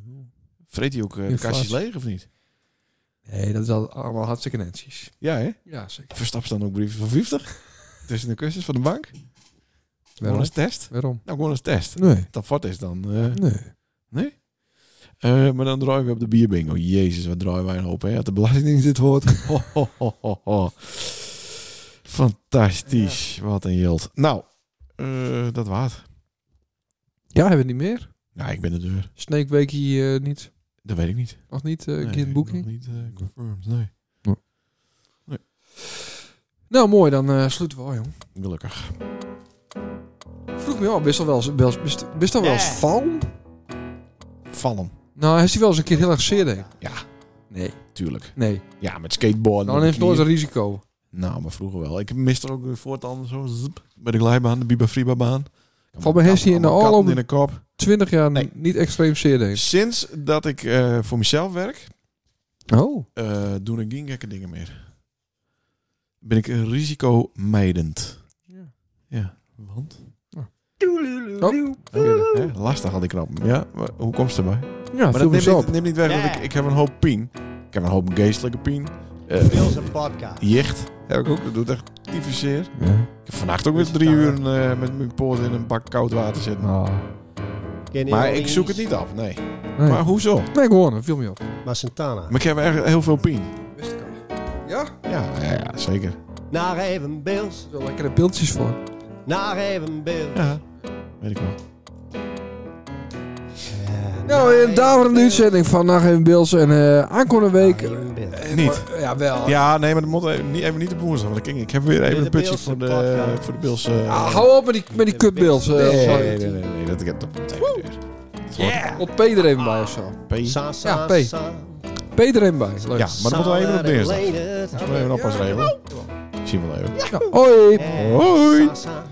Vreet hij ook eh, de Inflatie. kastjes leeg of niet? Nee, dat is al- allemaal hartstikke netjes. Ja, hè? Ja, zeker. Verstapt dan ook brieven van 50. Tussen de kussens van de bank. Gewoon Waarom? als test. Waarom? Nou, gewoon als test. Nee. Dat vat is dan. eh, Nee. Eh, maar dan draaien we op de bierbingo. Jezus, wat draaien wij een hoop, hè? Dat de Belastingdienst dit hoort. Ho, ho, ho, ho, ho. Fantastisch. Wat een jilt. Nou, eh, dat waard. Ja, hebben we niet meer? Ja, ik ben de deur. Snake Weekie eh, niet. Dat weet ik niet. Nog niet, eh Nee, geen boeking. nog niet eh, confirmed, nee. Nou, mooi, dan eh, sluiten we al, jong. Gelukkig. Vroeg me al, best al wel eens, best, best, best al wel eens Ja. van? Vallen. Nou, is hij wel eens een keer heel erg zeer, denk ik. Ja. Nee. Tuurlijk. Nee. Ja, met skateboarden. Nou, Dan op de heeft nooit een knieën. risico. Nou, maar vroeger wel. Ik mis er ook weer voortaan zo zip, bij de glijbaan, de Biba Fribabaan. Van mijn hersen in de Allemaal katten oorlog. in de kop. 20 jaar Nee. niet extreem zeer, denk ik. Sinds dat ik eh, voor mezelf werk, Oh. eh doen ik geen gekke dingen meer. Ben ik een risicomijdend. Ja. Ja, want? Oh. Hè, lastig al die knap. Ja, maar hoe komt ze erbij? Ja, maar viel dat me neemt zo op. niet, neemt niet weg, want Ja. ik, ik heb een hoop pien. Ik heb een hoop geestelijke pien. Eh, Bill's een podcast. jicht heb ik ook, dat doet echt tyfus zeer. Ja. Ik heb vannacht ook weer drie nou, uur eh, met mijn poot in een bak koud water zitten. Ah. Kenny Maar ik Orleans, zoek het niet af, nee. Nee. Maar hoezo? Nee, gewoon, dat viel me op. Maar Santana. Maar ik heb echt heel veel pien. Ja? Ja, ja, ja zeker. Naar even Bill's. Er zijn lekkere beeldjes voor. Naar even Bill's. Ja, weet ik wel. Eh, naar Nou, even een daverende Bill's. uitzending van Nacht Even Beels. En eh, aankomende week... Naar even Bill's. Niet. Ja, wel. Ja, nee, maar dat moet even niet, even niet op woensdag. Want ik, ik heb weer even de een putje Bills voor de, podcast. voor de Bills. eh, Ah, hou op met die, met die kutbeels. nee, eh, nee, sorry. nee, nee, nee, nee, dat, dat, dat even weer. Dat hoort Op P er even bij of zo. bij. Sa, sa, Ja, P. sa. P er even bij. Leuk. Ja, maar dan moeten we even op Saturday dinsdag. later. Moeten we even een oppas regelen. Ik zie hem wel even. Ja. Hoi. Eh, Hoi. sa, sa,